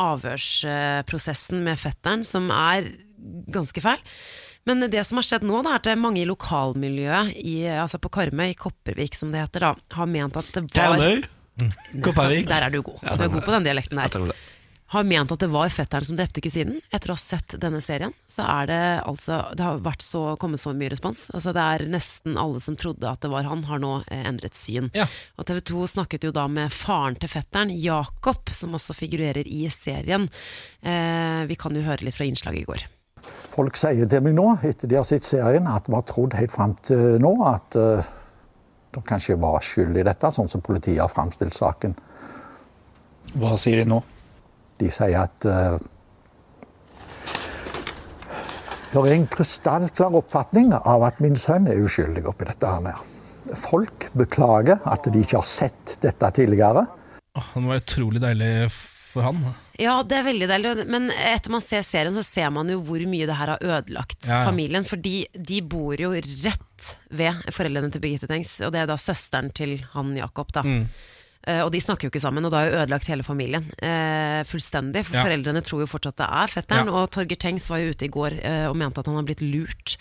Speaker 3: avhørsprosessen med fetteren, som er ganske fæl. Men det som har skjedd nå, da, er at det er mange i lokalmiljøet, i, altså på Karmøy, i Kopervik som det heter, da, har ment at det var
Speaker 1: Karmøy. Mm. Kopervik.
Speaker 3: Der er du god. Du er god på den dialekten der har ment at det var fetteren som drepte kusinen. Etter å ha sett denne serien, så er det altså Det har vært så, kommet så mye respons. Altså Det er nesten alle som trodde at det var han, har nå eh, endret syn.
Speaker 2: Ja.
Speaker 3: Og TV 2 snakket jo da med faren til fetteren, Jakob, som også figurerer i serien. Eh, vi kan jo høre litt fra innslaget i går.
Speaker 9: Folk sier til meg nå, etter de har sett serien, at de har trodd helt fram til nå at eh, de kanskje var skyld i dette, sånn som politiet har framstilt saken.
Speaker 10: Hva sier de nå?
Speaker 9: De sier at eh, Det er en krystallklar oppfatning av at min sønn er uskyldig oppi dette her. Folk beklager at de ikke har sett dette tidligere.
Speaker 2: Åh, det var utrolig deilig for han.
Speaker 3: Ja, det er veldig deilig. Men etter man ser serien, så ser man jo hvor mye det her har ødelagt
Speaker 2: Ja, ja.
Speaker 3: familien. Fordi de bor jo rett ved foreldrene til Birgitte Tengs, og det er da søsteren til han Jakob, da.
Speaker 2: Mm.
Speaker 3: Eh, og de snakker jo ikke sammen, og det har jo ødelagt hele familien eh, fullstendig. For
Speaker 2: Ja.
Speaker 3: foreldrene tror jo fortsatt det er fetteren,
Speaker 2: Ja.
Speaker 3: og Torgeir Tengs var jo ute i går eh, og mente at han har blitt lurt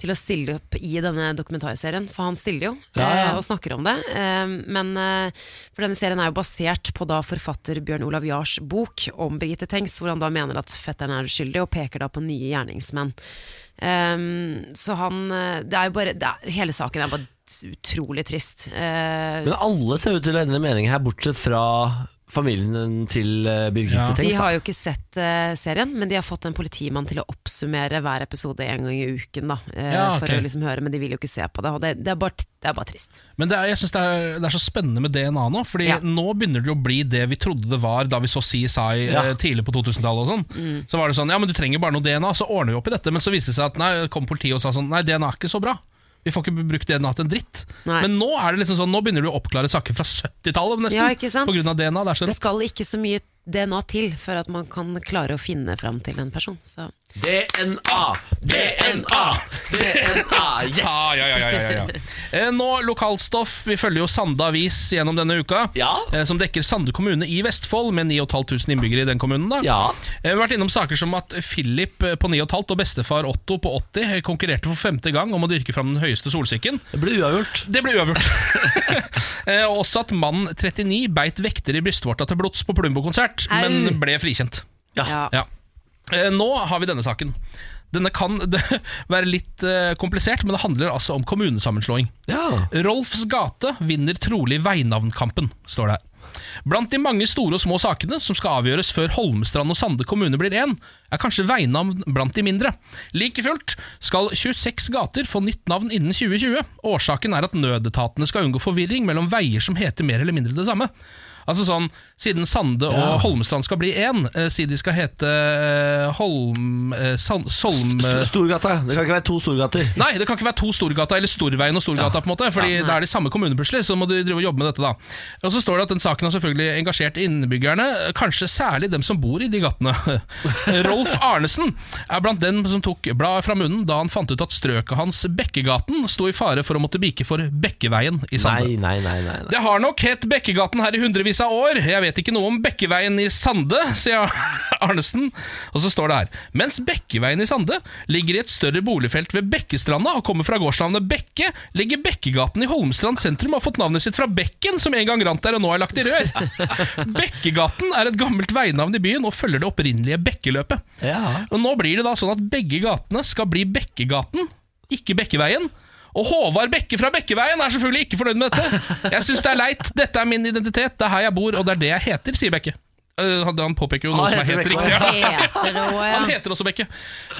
Speaker 3: til å stille opp i denne dokumentarserien, for han stiller jo
Speaker 1: Ja, ja.
Speaker 3: eh, og snakker om det. Eh, men eh, for denne serien er jo basert på da forfatter Bjørn Olav Jars bok om Birgitte Tengs, hvor han da mener at fetteren er uskyldig, og peker da på nye gjerningsmenn. Eh, så han eh, Det er jo bare det er, Hele saken er bare utrolig trist. Eh,
Speaker 1: Men alle ser ut til å endre mening her, bortsett fra familien til eh, Birgitte
Speaker 2: Ja.
Speaker 1: Tengs.
Speaker 3: De
Speaker 1: da.
Speaker 3: har jo ikke sett eh, serien, men de har fått en politimann til å oppsummere hver episode en gang i uken. Da, eh,
Speaker 2: Ja, ok.
Speaker 3: For å liksom høre, Men de vil jo ikke se på det. Og det, det, er, bare, det er bare trist.
Speaker 2: Men det er, jeg synes det, er, det er så spennende med DNA nå, Fordi
Speaker 3: Ja.
Speaker 2: nå begynner det jo å bli det vi trodde det var da vi så CSI eh, tidlig på 2000-tallet. og sånn
Speaker 3: Mm.
Speaker 2: Så var det sånn, ja, men du trenger bare noe DNA, så ordner vi opp i dette. Men så viste det seg at nei, kom politiet og sa sånn, nei, DNA er ikke så bra. Vi får ikke brukt DNA til en dritt.
Speaker 3: Nei.
Speaker 2: Men nå er det liksom sånn, nå begynner du å oppklare saker fra 70-tallet nesten.
Speaker 3: Ja, ikke sant?
Speaker 2: På grunn av DNA. Det er så
Speaker 3: Det
Speaker 2: rått.
Speaker 3: skal ikke så mye DNA til for at man kan klare å finne fram til en person. Så.
Speaker 1: DNA, DNA, DNA, yes!
Speaker 2: Ah, ja, ja, ja, ja, ja. Eh, Nå lokalstoff. Vi følger jo Sande avis gjennom denne uka.
Speaker 1: Ja.
Speaker 2: eh, Som dekker Sande kommune i Vestfold, med 9500 innbyggere i den kommunen. da
Speaker 1: Ja.
Speaker 2: Eh, Vi har vært innom saker som at Philip eh, på 9,5 og bestefar Otto på 80 konkurrerte for femte gang om å dyrke fram den høyeste solsikken.
Speaker 1: Det ble uavgjort.
Speaker 2: Det ble uavgjort. Eh, og også at mann 39 beit vekter i brystvorta til blods på Plumbo-konsert,
Speaker 3: Au.
Speaker 2: men ble frikjent.
Speaker 3: Ja.
Speaker 2: Ja. Eh, Nå har vi denne saken. Denne kan det, være litt eh, komplisert, men det handler altså om kommunesammenslåing.
Speaker 1: Ja.
Speaker 2: Rolfs gate vinner trolig veinavnkampen, står det her. Blant de mange store og små sakene som skal avgjøres før Holmestrand og Sande kommune blir én, er kanskje veinavn blant de mindre. Like fullt skal 26 gater få nytt navn innen 2020. Årsaken er at nødetatene skal unngå forvirring mellom veier som heter mer eller mindre det samme. Altså sånn, Siden Sande og Holmestrand skal bli én, eh, si de skal hete eh, Holm... Eh, Sand, Solm...
Speaker 1: Sto- Storgata. Det kan ikke være to storgater.
Speaker 2: Nei, det kan ikke være to Storgata eller Storveien og Storgata, på en måte Fordi det er de samme kommunene plutselig, så må du drive og jobbe med dette. da Og så står det at den saken har selvfølgelig engasjert innbyggerne, kanskje særlig dem som bor i de gatene. Rolf Arnesen er blant dem som tok bladet fra munnen da han fant ut at strøket hans Bekkegaten sto i fare for å måtte bike for Bekkeveien i Sande.
Speaker 1: Nei, nei, nei, nei, nei.
Speaker 2: Det har nok hett Bekkegaten her i hundrevis av år. Jeg vet ikke noe om Bekkeveien i Sande, sier Arnesen. Og så står det her Mens Bekkeveien i Sande ligger i et større boligfelt ved Bekkestranda og kommer fra gårdsnavnet Bekke, ligger Bekkegaten i Holmstrand sentrum og har fått navnet sitt fra Bekken, som en gang rant der og nå er lagt i rør. Bekkegaten er et gammelt veinavn i byen og følger det opprinnelige Bekkeløpet.
Speaker 1: Ja.
Speaker 2: Og nå blir det da sånn at begge gatene skal bli Bekkegaten, ikke Bekkeveien. Og Håvard Bekke fra Bekkeveien er selvfølgelig ikke fornøyd med dette. Jeg syns det er leit, dette er min identitet, det er her jeg bor, og det er det jeg heter, sier Bekke. Eh, han- han påpeker jo noe
Speaker 1: Han
Speaker 2: som er
Speaker 1: heter
Speaker 2: helt
Speaker 1: Bekke.
Speaker 2: riktig. Ja.
Speaker 3: Heter det også,
Speaker 2: Han
Speaker 3: ja.
Speaker 2: heter også Bekke.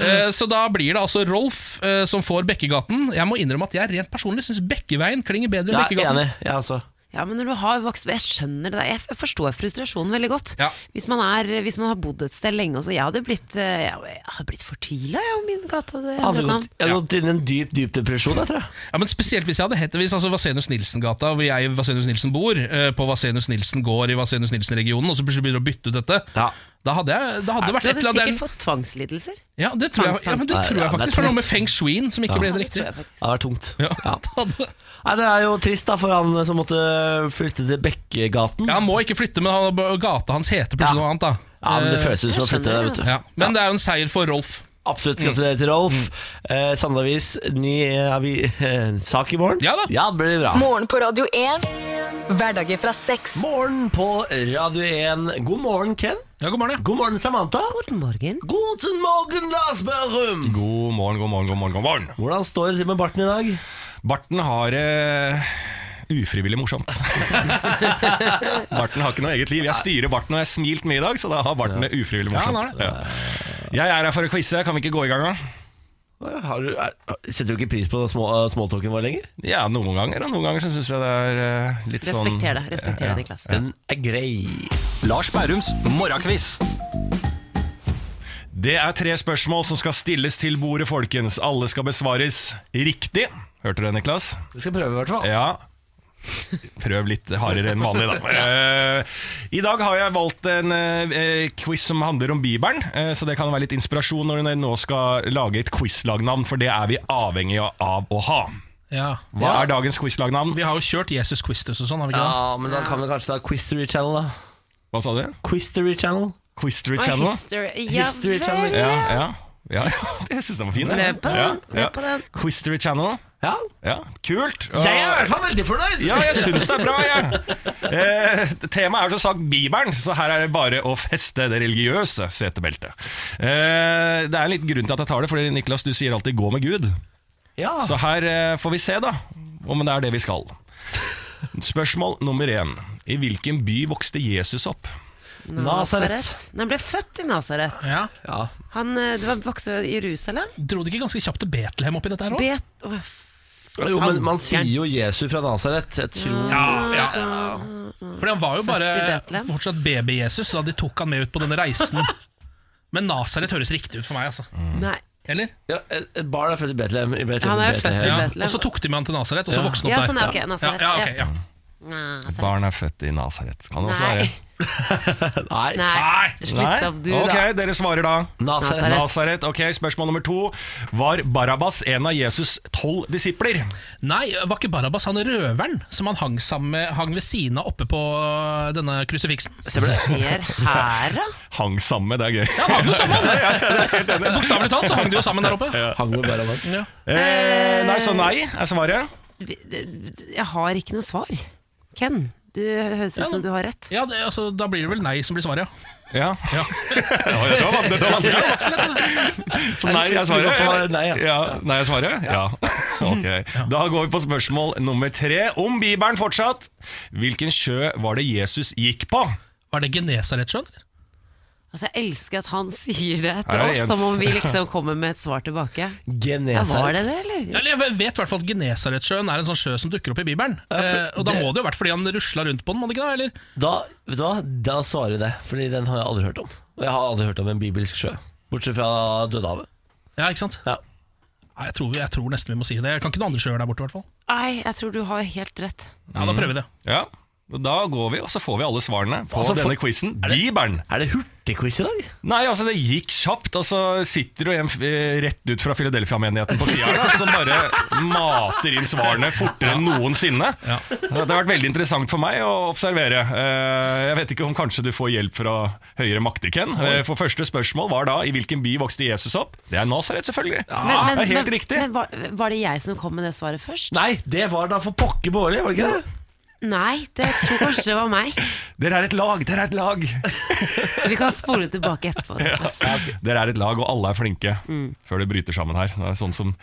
Speaker 2: Eh, Så da blir det altså Rolf eh, som får Bekkegaten. Jeg må innrømme at jeg rent personlig syns Bekkeveien klinger bedre enn
Speaker 1: Ja,
Speaker 2: Bekkegaten.
Speaker 1: enig. Jeg også.
Speaker 3: ja, men når du har vokst Jeg skjønner det, jeg jeg forstår frustrasjonen veldig godt.
Speaker 2: Ja.
Speaker 3: Hvis, man er, hvis man har bodd et sted lenge også. Jeg hadde blitt, eh, jeg hadde blitt fortvila om min gate hadde
Speaker 1: Jeg hadde
Speaker 3: endret navn.
Speaker 1: gått, jeg hadde gått inn i en dyp, dyp depresjon, jeg tror jeg.
Speaker 2: Ja, men spesielt hvis jeg hadde hett Hvis altså Vasenus Nilsen-gata, hvor jeg Vasenus Nilsen bor, eh, på Vasenus Nilsen gård i Vasenus Nilsen-regionen, og så plutselig begynner du å bytte ut dette,
Speaker 1: Ja.
Speaker 2: da hadde jeg, da hadde det vært
Speaker 3: Du
Speaker 2: et
Speaker 3: hadde
Speaker 2: eller
Speaker 3: sikkert
Speaker 2: annet
Speaker 3: fått tvangslidelser.
Speaker 2: Ja, det tror jeg, ja, men
Speaker 1: Tvangstanker.
Speaker 2: det
Speaker 1: Ja,
Speaker 2: tror jeg
Speaker 1: det er
Speaker 2: faktisk. For det var noe
Speaker 1: tungt.
Speaker 2: med feng shuien som ikke ble
Speaker 3: Ja,
Speaker 2: helt
Speaker 3: det
Speaker 2: riktig.
Speaker 3: tror jeg faktisk.
Speaker 1: Det hadde vært tungt.
Speaker 2: Ja,
Speaker 1: Ja.
Speaker 2: det hadde-
Speaker 1: Nei, det er jo trist da for han som måtte flytte til Bekkegaten.
Speaker 2: ja,
Speaker 1: Ja,
Speaker 2: han må ikke flytte, men han- gata hans heter plutselig
Speaker 1: Ja.
Speaker 2: noe annet, da.
Speaker 1: men Det føles ut som å
Speaker 3: Jeg
Speaker 1: flytte der, vet du.
Speaker 2: Ja, men det altså. er jo en seier for Rolf.
Speaker 1: Absolutt. Gratulerer til Rolf. Eh, Sandavis, ny eh, avi, eh, sak i morgen.
Speaker 2: Ja da.
Speaker 1: ja, det blir bra.
Speaker 5: Morgen på Radio 1. Hverdager fra seks.
Speaker 1: Morgen på Radio 1. God morgen, Ken.
Speaker 2: Ja, god morgen. ja.
Speaker 1: God morgen, Samantha.
Speaker 3: God morgen.
Speaker 1: Guten morgen, Lars Berrum.
Speaker 10: God morgen, god morgen, god morgen. god morgen
Speaker 1: Hvordan står det til med barten i dag?
Speaker 10: Barten har eh, ufrivillig morsomt. barten har ikke noe eget liv. Jeg styrer barten, og jeg har smilt mye i dag, så da har barten det ufrivillig
Speaker 2: Ja, han har
Speaker 10: morsomt. Ja. Jeg er her for å quize, kan vi ikke gå i gang, da?
Speaker 1: Har du, er, setter du ikke pris på små, eh, småtalken vår lenger?
Speaker 10: Ja, noen ganger, og noen ganger så syns jeg det er eh, litt sånn
Speaker 3: Respekter det, respekter det, Niklas.
Speaker 1: Den er grei.
Speaker 8: Lars Bærums morgenquiz.
Speaker 11: Det er tre spørsmål som skal stilles til bordet, folkens. Alle skal besvares riktig. Hørte du det, Niklas?
Speaker 1: Vi skal prøve, i hvert fall.
Speaker 11: Ja. Prøv litt hardere enn vanlig, da. Eh, I dag har jeg valgt en eh, quiz som handler om Bibelen, eh, så det kan være litt inspirasjon når dere nå skal lage et quizlagnavn, for det er vi avhengig av å ha.
Speaker 2: Ja.
Speaker 11: Hva er dagens quizlagnavn?
Speaker 2: Vi har jo kjørt Jesus Quistus og sånn, har vi ikke
Speaker 1: Ja, men da kan vi kanskje ta Quistery Channel, da.
Speaker 11: Hva sa du?
Speaker 1: Quistery Channel.
Speaker 11: Quistery
Speaker 3: Og
Speaker 11: Channel?
Speaker 3: History, ja,
Speaker 1: History Channel.
Speaker 3: vel.
Speaker 11: Ja, ja. ja. Jeg syns den var fin. jeg.
Speaker 3: Med på den,
Speaker 11: Ja,
Speaker 3: med
Speaker 11: ja.
Speaker 3: på den.
Speaker 11: Quistery Channel.
Speaker 1: Ja.
Speaker 11: Ja, kult.
Speaker 1: Jeg er i hvert fall veldig fornøyd!
Speaker 11: Ja, jeg syns det er bra, jeg. Eh, temaet er som sagt Bibelen, så her er det bare å feste det religiøse setebeltet. Eh, det er en liten grunn til at jeg tar det, for Niklas, du sier alltid 'gå med Gud'.
Speaker 1: Ja.
Speaker 11: Så her eh, får vi se, da, om det er det vi skal. Spørsmål nummer én. I hvilken by vokste Jesus opp?
Speaker 1: Nasaret.
Speaker 3: Nei, Han ble født i Nasaret.
Speaker 2: da? Ja.
Speaker 1: Ja.
Speaker 3: Han eh, det var- vokste i Jerusalem.
Speaker 2: Dro det ikke ganske kjapt til Betlehem oppi dette her òg?
Speaker 3: Bet... Åh, f-
Speaker 1: Jo, men man sier jo Jesu fra Nasaret. Jeg tror
Speaker 2: Ja, ja, Fordi han var jo bare
Speaker 3: Født i Betlehem.
Speaker 2: fortsatt baby-Jesus, da de tok han med ut på denne reisen. Men Nasaret høres riktig ut for meg, altså.
Speaker 11: Mm.
Speaker 3: Nei.
Speaker 2: Eller?
Speaker 1: ja, et- Et barn er født i Betlehem. I Betlehem
Speaker 3: Han
Speaker 1: i
Speaker 3: er født i
Speaker 1: Betlehem.
Speaker 2: Ja.
Speaker 3: Betlehem.
Speaker 2: Og så tok de med han til Nasaret, og så
Speaker 1: Ja.
Speaker 2: vokste
Speaker 3: Ja,
Speaker 2: han
Speaker 3: sånn
Speaker 2: opp
Speaker 3: er
Speaker 2: der.
Speaker 3: ok. Nasaret.
Speaker 2: ja, ja, ok, ja.
Speaker 3: Nasaret.
Speaker 11: Barn er født i Nasaret. Kan det også
Speaker 3: Nei.
Speaker 11: være.
Speaker 1: Nei,
Speaker 3: Nei,
Speaker 2: Nei.
Speaker 3: slutt av du,
Speaker 11: Ok,
Speaker 3: da.
Speaker 11: dere svarer da.
Speaker 1: Nasaret.
Speaker 3: Nasaret.
Speaker 11: Nasaret. Ok, spørsmål nummer to. Var Barabbas en av Jesus' tolv disipler?
Speaker 2: Nei, var ikke Barabbas han røveren som han hang, sammen med, hang ved siden av oppe på øh, denne krusifiksen?
Speaker 1: Stemmer det?
Speaker 3: Skjer her, da?
Speaker 11: Hang sammen med, det er gøy.
Speaker 2: Ja, han hang jo sammen! Bokstavelig talt så hang de jo sammen der oppe.
Speaker 1: Hang med Barabbas.
Speaker 2: Ja.
Speaker 11: Eh, nei, så nei er svaret.
Speaker 3: Jeg har ikke noe svar. Ken, du høres ut som du har rett.
Speaker 2: Ja, det, altså, Da blir det vel nei som blir svaret, ja.
Speaker 11: Ja. Oi, det var van- det var vanskelig. Så nei er
Speaker 1: Du går for
Speaker 11: svaret.
Speaker 1: nei, ja.
Speaker 11: ja. Nei er svaret? Ja. Ok. Da går vi på spørsmål nummer tre, om Bibelen fortsatt. Hvilken sjø var det Jesus gikk på?
Speaker 2: Var det Genesaret, skjønn?
Speaker 3: Altså, Jeg elsker at han sier det
Speaker 11: Her
Speaker 3: til
Speaker 11: er
Speaker 3: oss,
Speaker 11: Jens.
Speaker 3: som om vi liksom kommer med et svar tilbake. Ja,
Speaker 1: Genesaret.
Speaker 3: var det det, eller?
Speaker 2: Eller Jeg vet i hvert fall at Genesaretsjøen er en sånn sjø som dukker opp i Bibelen. eh, og Da
Speaker 1: det-
Speaker 2: må det jo ha vært fordi han rusla rundt på den, må det ikke da? Eller?
Speaker 1: Da, vet du hva? da svarer jeg det, Fordi den har jeg aldri hørt om. Og jeg har aldri hørt om en bibelsk sjø. Bortsett fra Dødehavet.
Speaker 2: Ja, ikke sant?
Speaker 1: Ja.
Speaker 2: Nei, jeg, tror, jeg tror nesten vi må si det. Jeg kan ikke noen andre sjøer der borte, i hvert fall.
Speaker 3: Nei, jeg tror du har helt rett.
Speaker 2: Ja,
Speaker 1: Mm.
Speaker 2: Da prøver vi det.
Speaker 11: Ja. Da går vi, og så får vi alle svarene på
Speaker 1: Altså, for-
Speaker 11: denne quizen. Bibelen!
Speaker 1: Er det hurtigquiz i dag?
Speaker 11: Nei, altså det gikk kjapt, og så sitter du en eh, rett ut fra Philadelphia-menigheten på sida her, som bare mater inn svarene fortere enn noensinne.
Speaker 2: Ja.
Speaker 11: Det har vært veldig interessant for meg å observere. Eh, Jeg vet ikke om kanskje du får hjelp fra høyere makter, Ken. Eh, For første spørsmål var da i hvilken by vokste Jesus opp? Det er Nasaret, selvfølgelig. det er helt riktig.
Speaker 3: Men var, var det jeg som kom med det svaret først?
Speaker 1: Nei, det var da for pokker Bårli, var det ikke det?
Speaker 3: Nei, det jeg tror kanskje det var meg.
Speaker 11: Dere er et lag, dere er et lag.
Speaker 3: Vi kan spole tilbake etterpå. Niklas.
Speaker 11: Dere er et lag, og alle er flinke før det bryter sammen her. Det er sånn som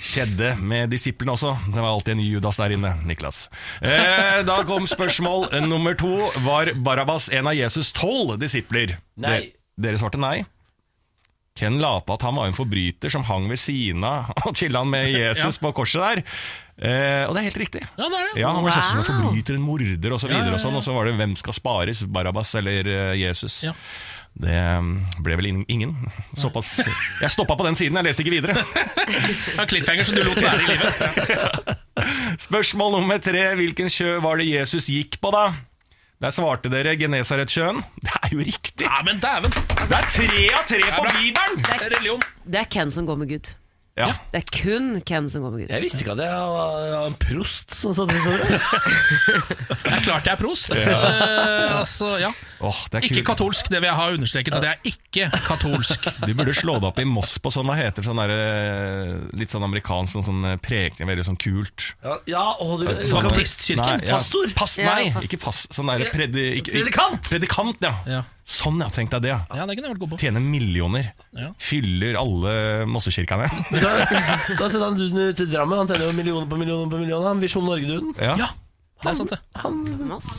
Speaker 11: skjedde med disiplene også. Det var alltid en Judas der inne, Niklas. Eh, da kom spørsmål nummer to. Var Barabbas en av Jesus' tolv disipler?
Speaker 1: Nei.
Speaker 11: De, dere svarte nei. Ken la på at han var en forbryter som hang ved siden av og chilla med Jesus på korset der. Eh, og det er helt riktig.
Speaker 2: Ja, det er det.
Speaker 11: Ja, Han ble sett som en
Speaker 3: Wow.
Speaker 11: forbryter, en morder osv. Og, så
Speaker 2: Ja, ja,
Speaker 11: videre
Speaker 2: ja.
Speaker 11: og, sånn, og så var det 'Hvem skal spares?' Barabbas eller eh, Jesus.
Speaker 2: Ja.
Speaker 11: Det um, ble vel in- ingen. Såpass. Jeg stoppa på den siden, jeg leste ikke videre.
Speaker 2: Ja, cliffhanger som du lot være i livet.
Speaker 11: Spørsmål nummer tre. Hvilken sjø var det Jesus gikk på, da? Der svarte dere Genesaretsjøen. Det er jo riktig!
Speaker 2: Ja, men dæven!
Speaker 11: Det er tre av tre på
Speaker 2: bra.
Speaker 11: Bibelen!
Speaker 2: Religion.
Speaker 3: Det er Ken som går med Gud.
Speaker 11: Ja.
Speaker 3: Det er kun Ken som går med Gud.
Speaker 1: Jeg visste ikke at jeg var jeg var en prost som sa det til ordet.
Speaker 2: Det er klart jeg er prost. Eh, altså, ja.
Speaker 11: Åh, det er
Speaker 2: Ikke
Speaker 11: kult.
Speaker 2: katolsk, det vil jeg ha understreket. At jeg er ikke katolsk.
Speaker 11: Du burde slå deg opp i Moss på sånn, hva heter det, sånn der, eh, litt sånn amerikansk, sånn, sånn eh, prekning, veldig sånn kult.
Speaker 1: Ja, å, du,
Speaker 11: Sånn-
Speaker 2: Baptistkirken?
Speaker 11: Nei, ja.
Speaker 1: Pastor?
Speaker 11: Pas,
Speaker 3: Ja,
Speaker 11: nei,
Speaker 3: pastor.
Speaker 11: ikke pass. Sånn der, predi, ikke,
Speaker 1: Predikant?
Speaker 11: Predikant, ja.
Speaker 2: Ja.
Speaker 11: Sånn, ja. Tenk deg det. ja.
Speaker 2: Ja, det kunne jeg vært god på.
Speaker 11: Tjener millioner.
Speaker 2: Ja.
Speaker 11: Fyller alle mossekirkene.
Speaker 1: Da, da sendte han duden til Drammen. Han tjener jo millioner på millioner på millioner. Han Visjon Norge-duden.
Speaker 11: Ja.
Speaker 2: Ja, det er sant, det.
Speaker 3: Moss.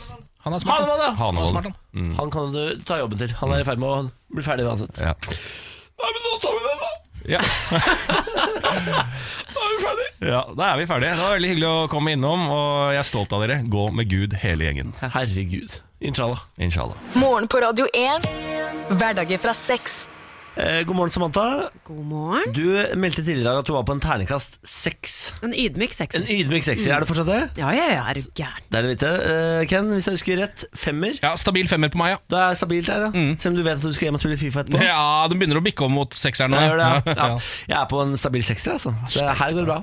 Speaker 2: Han er smart.
Speaker 1: Han,
Speaker 2: han.
Speaker 1: var det.
Speaker 11: Han
Speaker 2: Han er
Speaker 11: og
Speaker 2: smart,
Speaker 11: han.
Speaker 2: han.
Speaker 1: han kan du ta jobben til. Han er i ferd med å bli ferdig uansett.
Speaker 11: Ja.
Speaker 1: Nei, men nå tar vi den, da!
Speaker 11: Ja.
Speaker 1: Da er vi ferdig.
Speaker 11: ja, da er vi ferdige. Det var veldig hyggelig å komme innom, og jeg er stolt av dere. Gå med Gud, hele gjengen.
Speaker 1: Herregud. Inshallah.
Speaker 11: Inshallah.
Speaker 12: Morgen på Radio 1. Hverdager fra seks.
Speaker 1: Eh, God morgen, Samantha.
Speaker 3: God morgen.
Speaker 1: Du meldte tidligere i dag at du var på en terningkast seks.
Speaker 3: En ydmyk sekser.
Speaker 1: En ydmyk sekser. Er det fortsatt det?
Speaker 3: Ja, ja, ja, er du gæren.
Speaker 1: Det er det vite. Eh, Ken, hvis jeg husker rett, femmer.
Speaker 2: Ja, Stabil femmer på meg, ja.
Speaker 1: Du er stabilt her, ja. Selv om du vet at du skal hjem og spille Fifa etterpå.
Speaker 2: Ja, Den begynner å bikke om mot sekseren. nå,
Speaker 1: Jeg, gjør det, ja.
Speaker 2: Ja.
Speaker 1: Ja. jeg er på en stabil sekser, altså. Så her går det bra.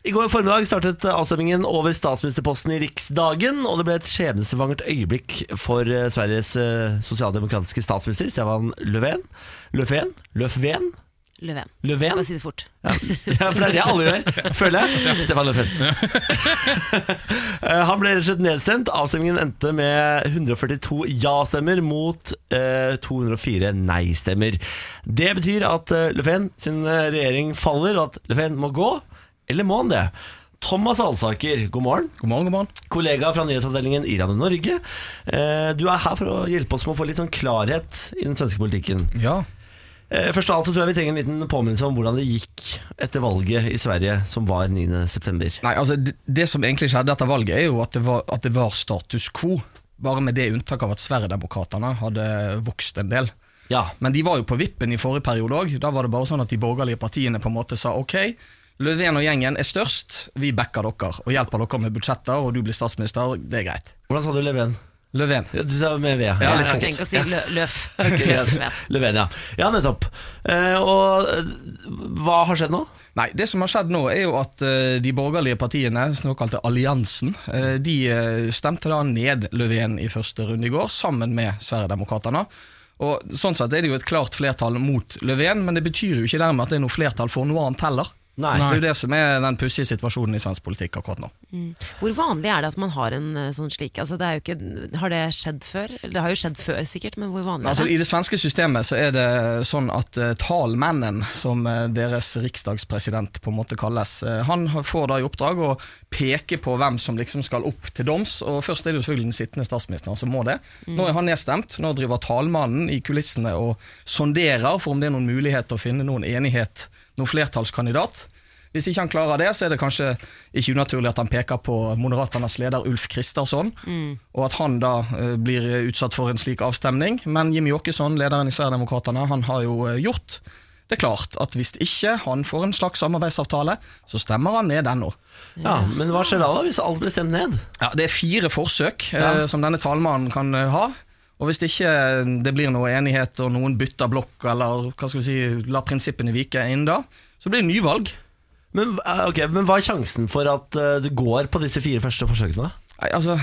Speaker 1: I går formiddag startet avstemningen over statsministerposten i Riksdagen, og det ble et skjebnesvangert øyeblikk for eh, Sveriges eh, sosialdemokratiske statsminister, Stefan Löfven. Löfven? Löfven?
Speaker 3: Løven.
Speaker 1: Löfven?
Speaker 3: Bare si det fort.
Speaker 1: Ja, ja, for det er det alle gjør, føler jeg. Stefan Löfven. Eh, Han ble rett og slett nedstemt. Avstemningen endte med 142 ja-stemmer mot eh, 204 nei-stemmer. Det betyr at eh, Löfven sin eh, regjering faller, og at Löfven må gå. Eller må han det? Thomas Alsaker, god morgen.
Speaker 11: God morgen, god morgen.
Speaker 1: Kollega fra nyhetsavdelingen i Radio Norge. Eh, Du er her for å hjelpe oss med å få litt sånn klarhet i den svenske politikken.
Speaker 11: Ja.
Speaker 1: Eh, Først av alt så tror jeg vi trenger en liten påminnelse om hvordan det gikk etter valget i Sverige, som var 9.9.
Speaker 11: Nei, altså det, det som egentlig skjedde etter valget, er jo at det var, at det var status quo. Bare med det unntaket av at Sverigedemokraterna hadde vokst en del.
Speaker 1: Ja.
Speaker 11: Men de var jo på vippen i forrige periode òg. Da var det bare sånn at de borgerlige partiene på en måte sa ok, Løven og gjengen er størst, vi backer dere og hjelper dere med budsjetter, og du blir statsminister, det er greit.
Speaker 1: Hvordan sa du Leven?
Speaker 11: Løven.
Speaker 1: Ja, du sa med V. Ja,
Speaker 11: Ja,
Speaker 1: litt
Speaker 3: Jeg
Speaker 1: fort.
Speaker 3: trenger ikke å si lø løf.
Speaker 1: Ok, greit.
Speaker 3: Løven.
Speaker 1: Löfven, ja. Ja, nettopp. Eh, Og eh, hva har skjedd nå?
Speaker 11: Nei, det som har skjedd nå er jo at eh, de borgerlige partiene, såkalte alliansen, eh, de eh, stemte da ned Löfven i første runde i går, sammen med Sverigedemokraterna. Og sånn sett er det jo et klart flertall mot Löfven, men det betyr jo ikke dermed at det er noe flertall for noe annet heller.
Speaker 1: Nei.
Speaker 11: Det er jo det som er den pussige situasjonen i svensk politikk akkurat nå.
Speaker 3: Hvor vanlig er det at man har en eh, sånn slik? Altså, det er jo ikke, har det skjedd før? Eller, det har jo skjedd før, sikkert, men hvor vanlig
Speaker 11: Altså,
Speaker 3: er det?
Speaker 11: I det svenske systemet så er det sånn at eh, talmannen, som eh, deres riksdagspresident på en måte kalles, eh, han har- får da i oppdrag å peke på hvem som liksom skal opp til doms. og Først er det jo selvfølgelig den sittende statsministeren som må det. Nå er han nedstemt. Nå driver talmannen i kulissene og sonderer for om det er noen mulighet til å finne noen enighet, noen flertallskandidat. Hvis ikke han klarer det, så er det kanskje ikke unaturlig at han peker på Moderaternas leder Ulf Kristersson, og at han da eh, blir utsatt for en slik avstemning. Men Jimmy Åkesson, lederen i Sverigedemokraterna, han har jo eh, gjort det klart at hvis ikke han får en slags samarbeidsavtale, så stemmer han ned den nå.
Speaker 1: Ja, Men hva skjer da, da hvis alt blir stemt ned?
Speaker 11: Ja, det er fire forsøk eh, som denne talmannen kan eh, ha. Og hvis det ikke eh, det blir noe enighet og noen bytter blokk eller hva skal vi si, la prinsippene vike inn da, så blir det nyvalg.
Speaker 1: Men, eh, ok, men hva er sjansen for at eh, det går på disse fire første forsøkene? da?
Speaker 11: Nei, altså,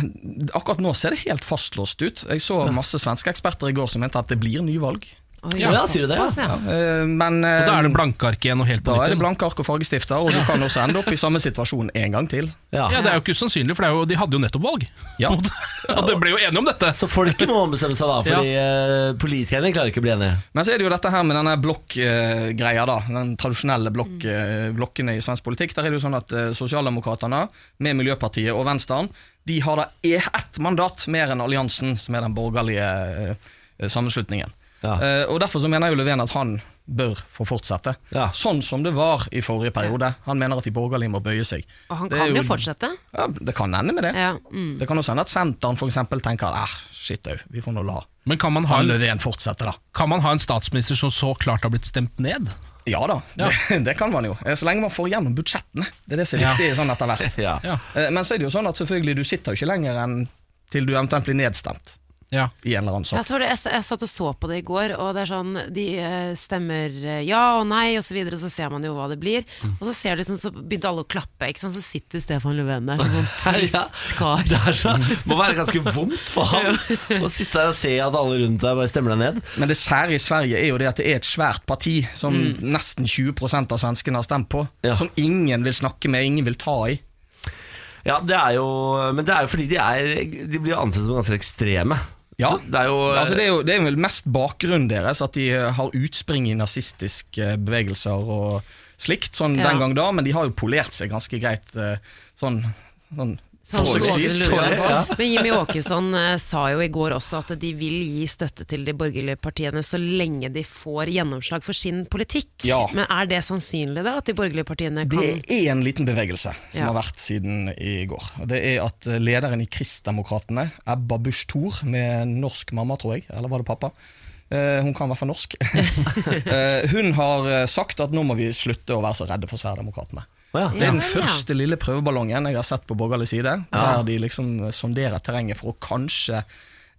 Speaker 11: Akkurat nå ser det helt fastlåst ut. Jeg så masse svenske eksperter i går som mente at det blir nyvalg.
Speaker 3: Oi, altså.
Speaker 1: Ja, sier du det, ja?
Speaker 3: såpass, ja.
Speaker 11: Eh, Men eh,
Speaker 2: Og Da er det blanke ark igjen og helt på
Speaker 11: da er det
Speaker 2: nytt. igjen.
Speaker 11: blanke ark og fargestifter, og du kan også ende opp i samme situasjon en gang til.
Speaker 2: Ja, Det er jo ikke usannsynlig, for det er jo, de hadde jo nettopp valg.
Speaker 11: Ja.
Speaker 2: Og det ble jo enige om dette.
Speaker 1: Så folket må ombestemme seg da, fordi eh, politikerne klarer ikke å bli enige.
Speaker 11: Men så er det jo dette her med denne blokkgreia, da. Den tradisjonelle blokk,
Speaker 3: Mm.
Speaker 11: eh, blokkene i svensk politikk. Der er det jo sånn at eh, Sosialdemokraterna med Miljøpartiet og Venstre de har da e- ett mandat mer enn alliansen, som er den borgerlige eh, sammenslutningen.
Speaker 1: Ja.
Speaker 11: Eh, og Derfor så mener jo Löfven at han bør få fortsette.
Speaker 1: Ja.
Speaker 11: Sånn som det var i forrige periode. Han mener at de borgerlige må bøye seg.
Speaker 3: Og han
Speaker 11: Det er
Speaker 3: kan jo fortsette.
Speaker 11: Ja, det kan ende med det.
Speaker 3: Ja, mm.
Speaker 11: Det kan også hende at Senteren for eksempel tenker at "Ah, shit au, vi får nå la
Speaker 2: Men kan man, ha
Speaker 11: han
Speaker 2: en,
Speaker 11: Löfven fortsette, da.
Speaker 2: kan man ha en statsminister som så klart har blitt stemt ned?
Speaker 11: Ja da, Det, det kan man jo. Eh, Så lenge man får gjennom budsjettene. Det er det som er viktig sånn etter hvert.
Speaker 1: Ja.
Speaker 2: Ja.
Speaker 11: Eh, Men så er det jo sånn at selvfølgelig du sitter jo ikke lenger enn til du eventuelt blir nedstemt
Speaker 2: Ja.
Speaker 11: i en eller annen
Speaker 3: Ja,
Speaker 11: sak.
Speaker 3: så var det, jeg, jeg satt og så på det i går, og det er sånn De eh, stemmer eh, ja og nei, og så videre, og så ser man jo hva det blir.
Speaker 1: Mm.
Speaker 3: Og så ser du sånn, så begynte alle å klappe, ikke sant. Så sitter Stefan Löfven der, som en trist kar.
Speaker 1: Det er så, må være ganske vondt for ham å sitte her og se at alle rundt deg bare stemmer deg ned.
Speaker 11: Men det sære i Sverige er jo det at det er et svært parti som nesten 20 av svenskene har stemt på.
Speaker 1: Ja.
Speaker 11: Som ingen vil snakke med, ingen vil ta i.
Speaker 1: Ja, det er jo, Men det er jo fordi de, er, de blir ansett som ganske ekstreme.
Speaker 11: Ja.
Speaker 1: Så det er jo,
Speaker 11: Altså, det, er jo, det er vel mest bakgrunnen deres at de eh, har utspring i nazistiske eh, bevegelser og slikt, sånn
Speaker 3: Ja.
Speaker 11: den gang da, men de har jo polert seg ganske greit eh, sånn, sånn
Speaker 3: Sånn
Speaker 11: forsøksvis.
Speaker 3: noenlunde.
Speaker 11: i hvert fall.
Speaker 3: Men Jimmy Åkesson eh, sa jo i går også at de vil gi støtte til de borgerlige partiene så lenge de får gjennomslag for sin politikk.
Speaker 11: Ja.
Speaker 3: Men er det sannsynlig da, at de borgerlige partiene kan
Speaker 11: Det er en liten bevegelse som
Speaker 3: Ja.
Speaker 11: har vært siden i går. Og Det er at eh, lederen i Kristdemokratene, Ebba Busch Thor, med norsk mamma, tror jeg, eller var det pappa, Eh, hun kan i hvert fall norsk. Eh, hun har eh, sagt at nå må vi slutte å være så redde for Sverigedemokraterna.
Speaker 1: ja.
Speaker 11: Det er den
Speaker 1: Ja, ja.
Speaker 11: første lille prøveballongen jeg har sett på borgerlig side,
Speaker 1: Ja.
Speaker 11: der de liksom sonderer terrenget for å kanskje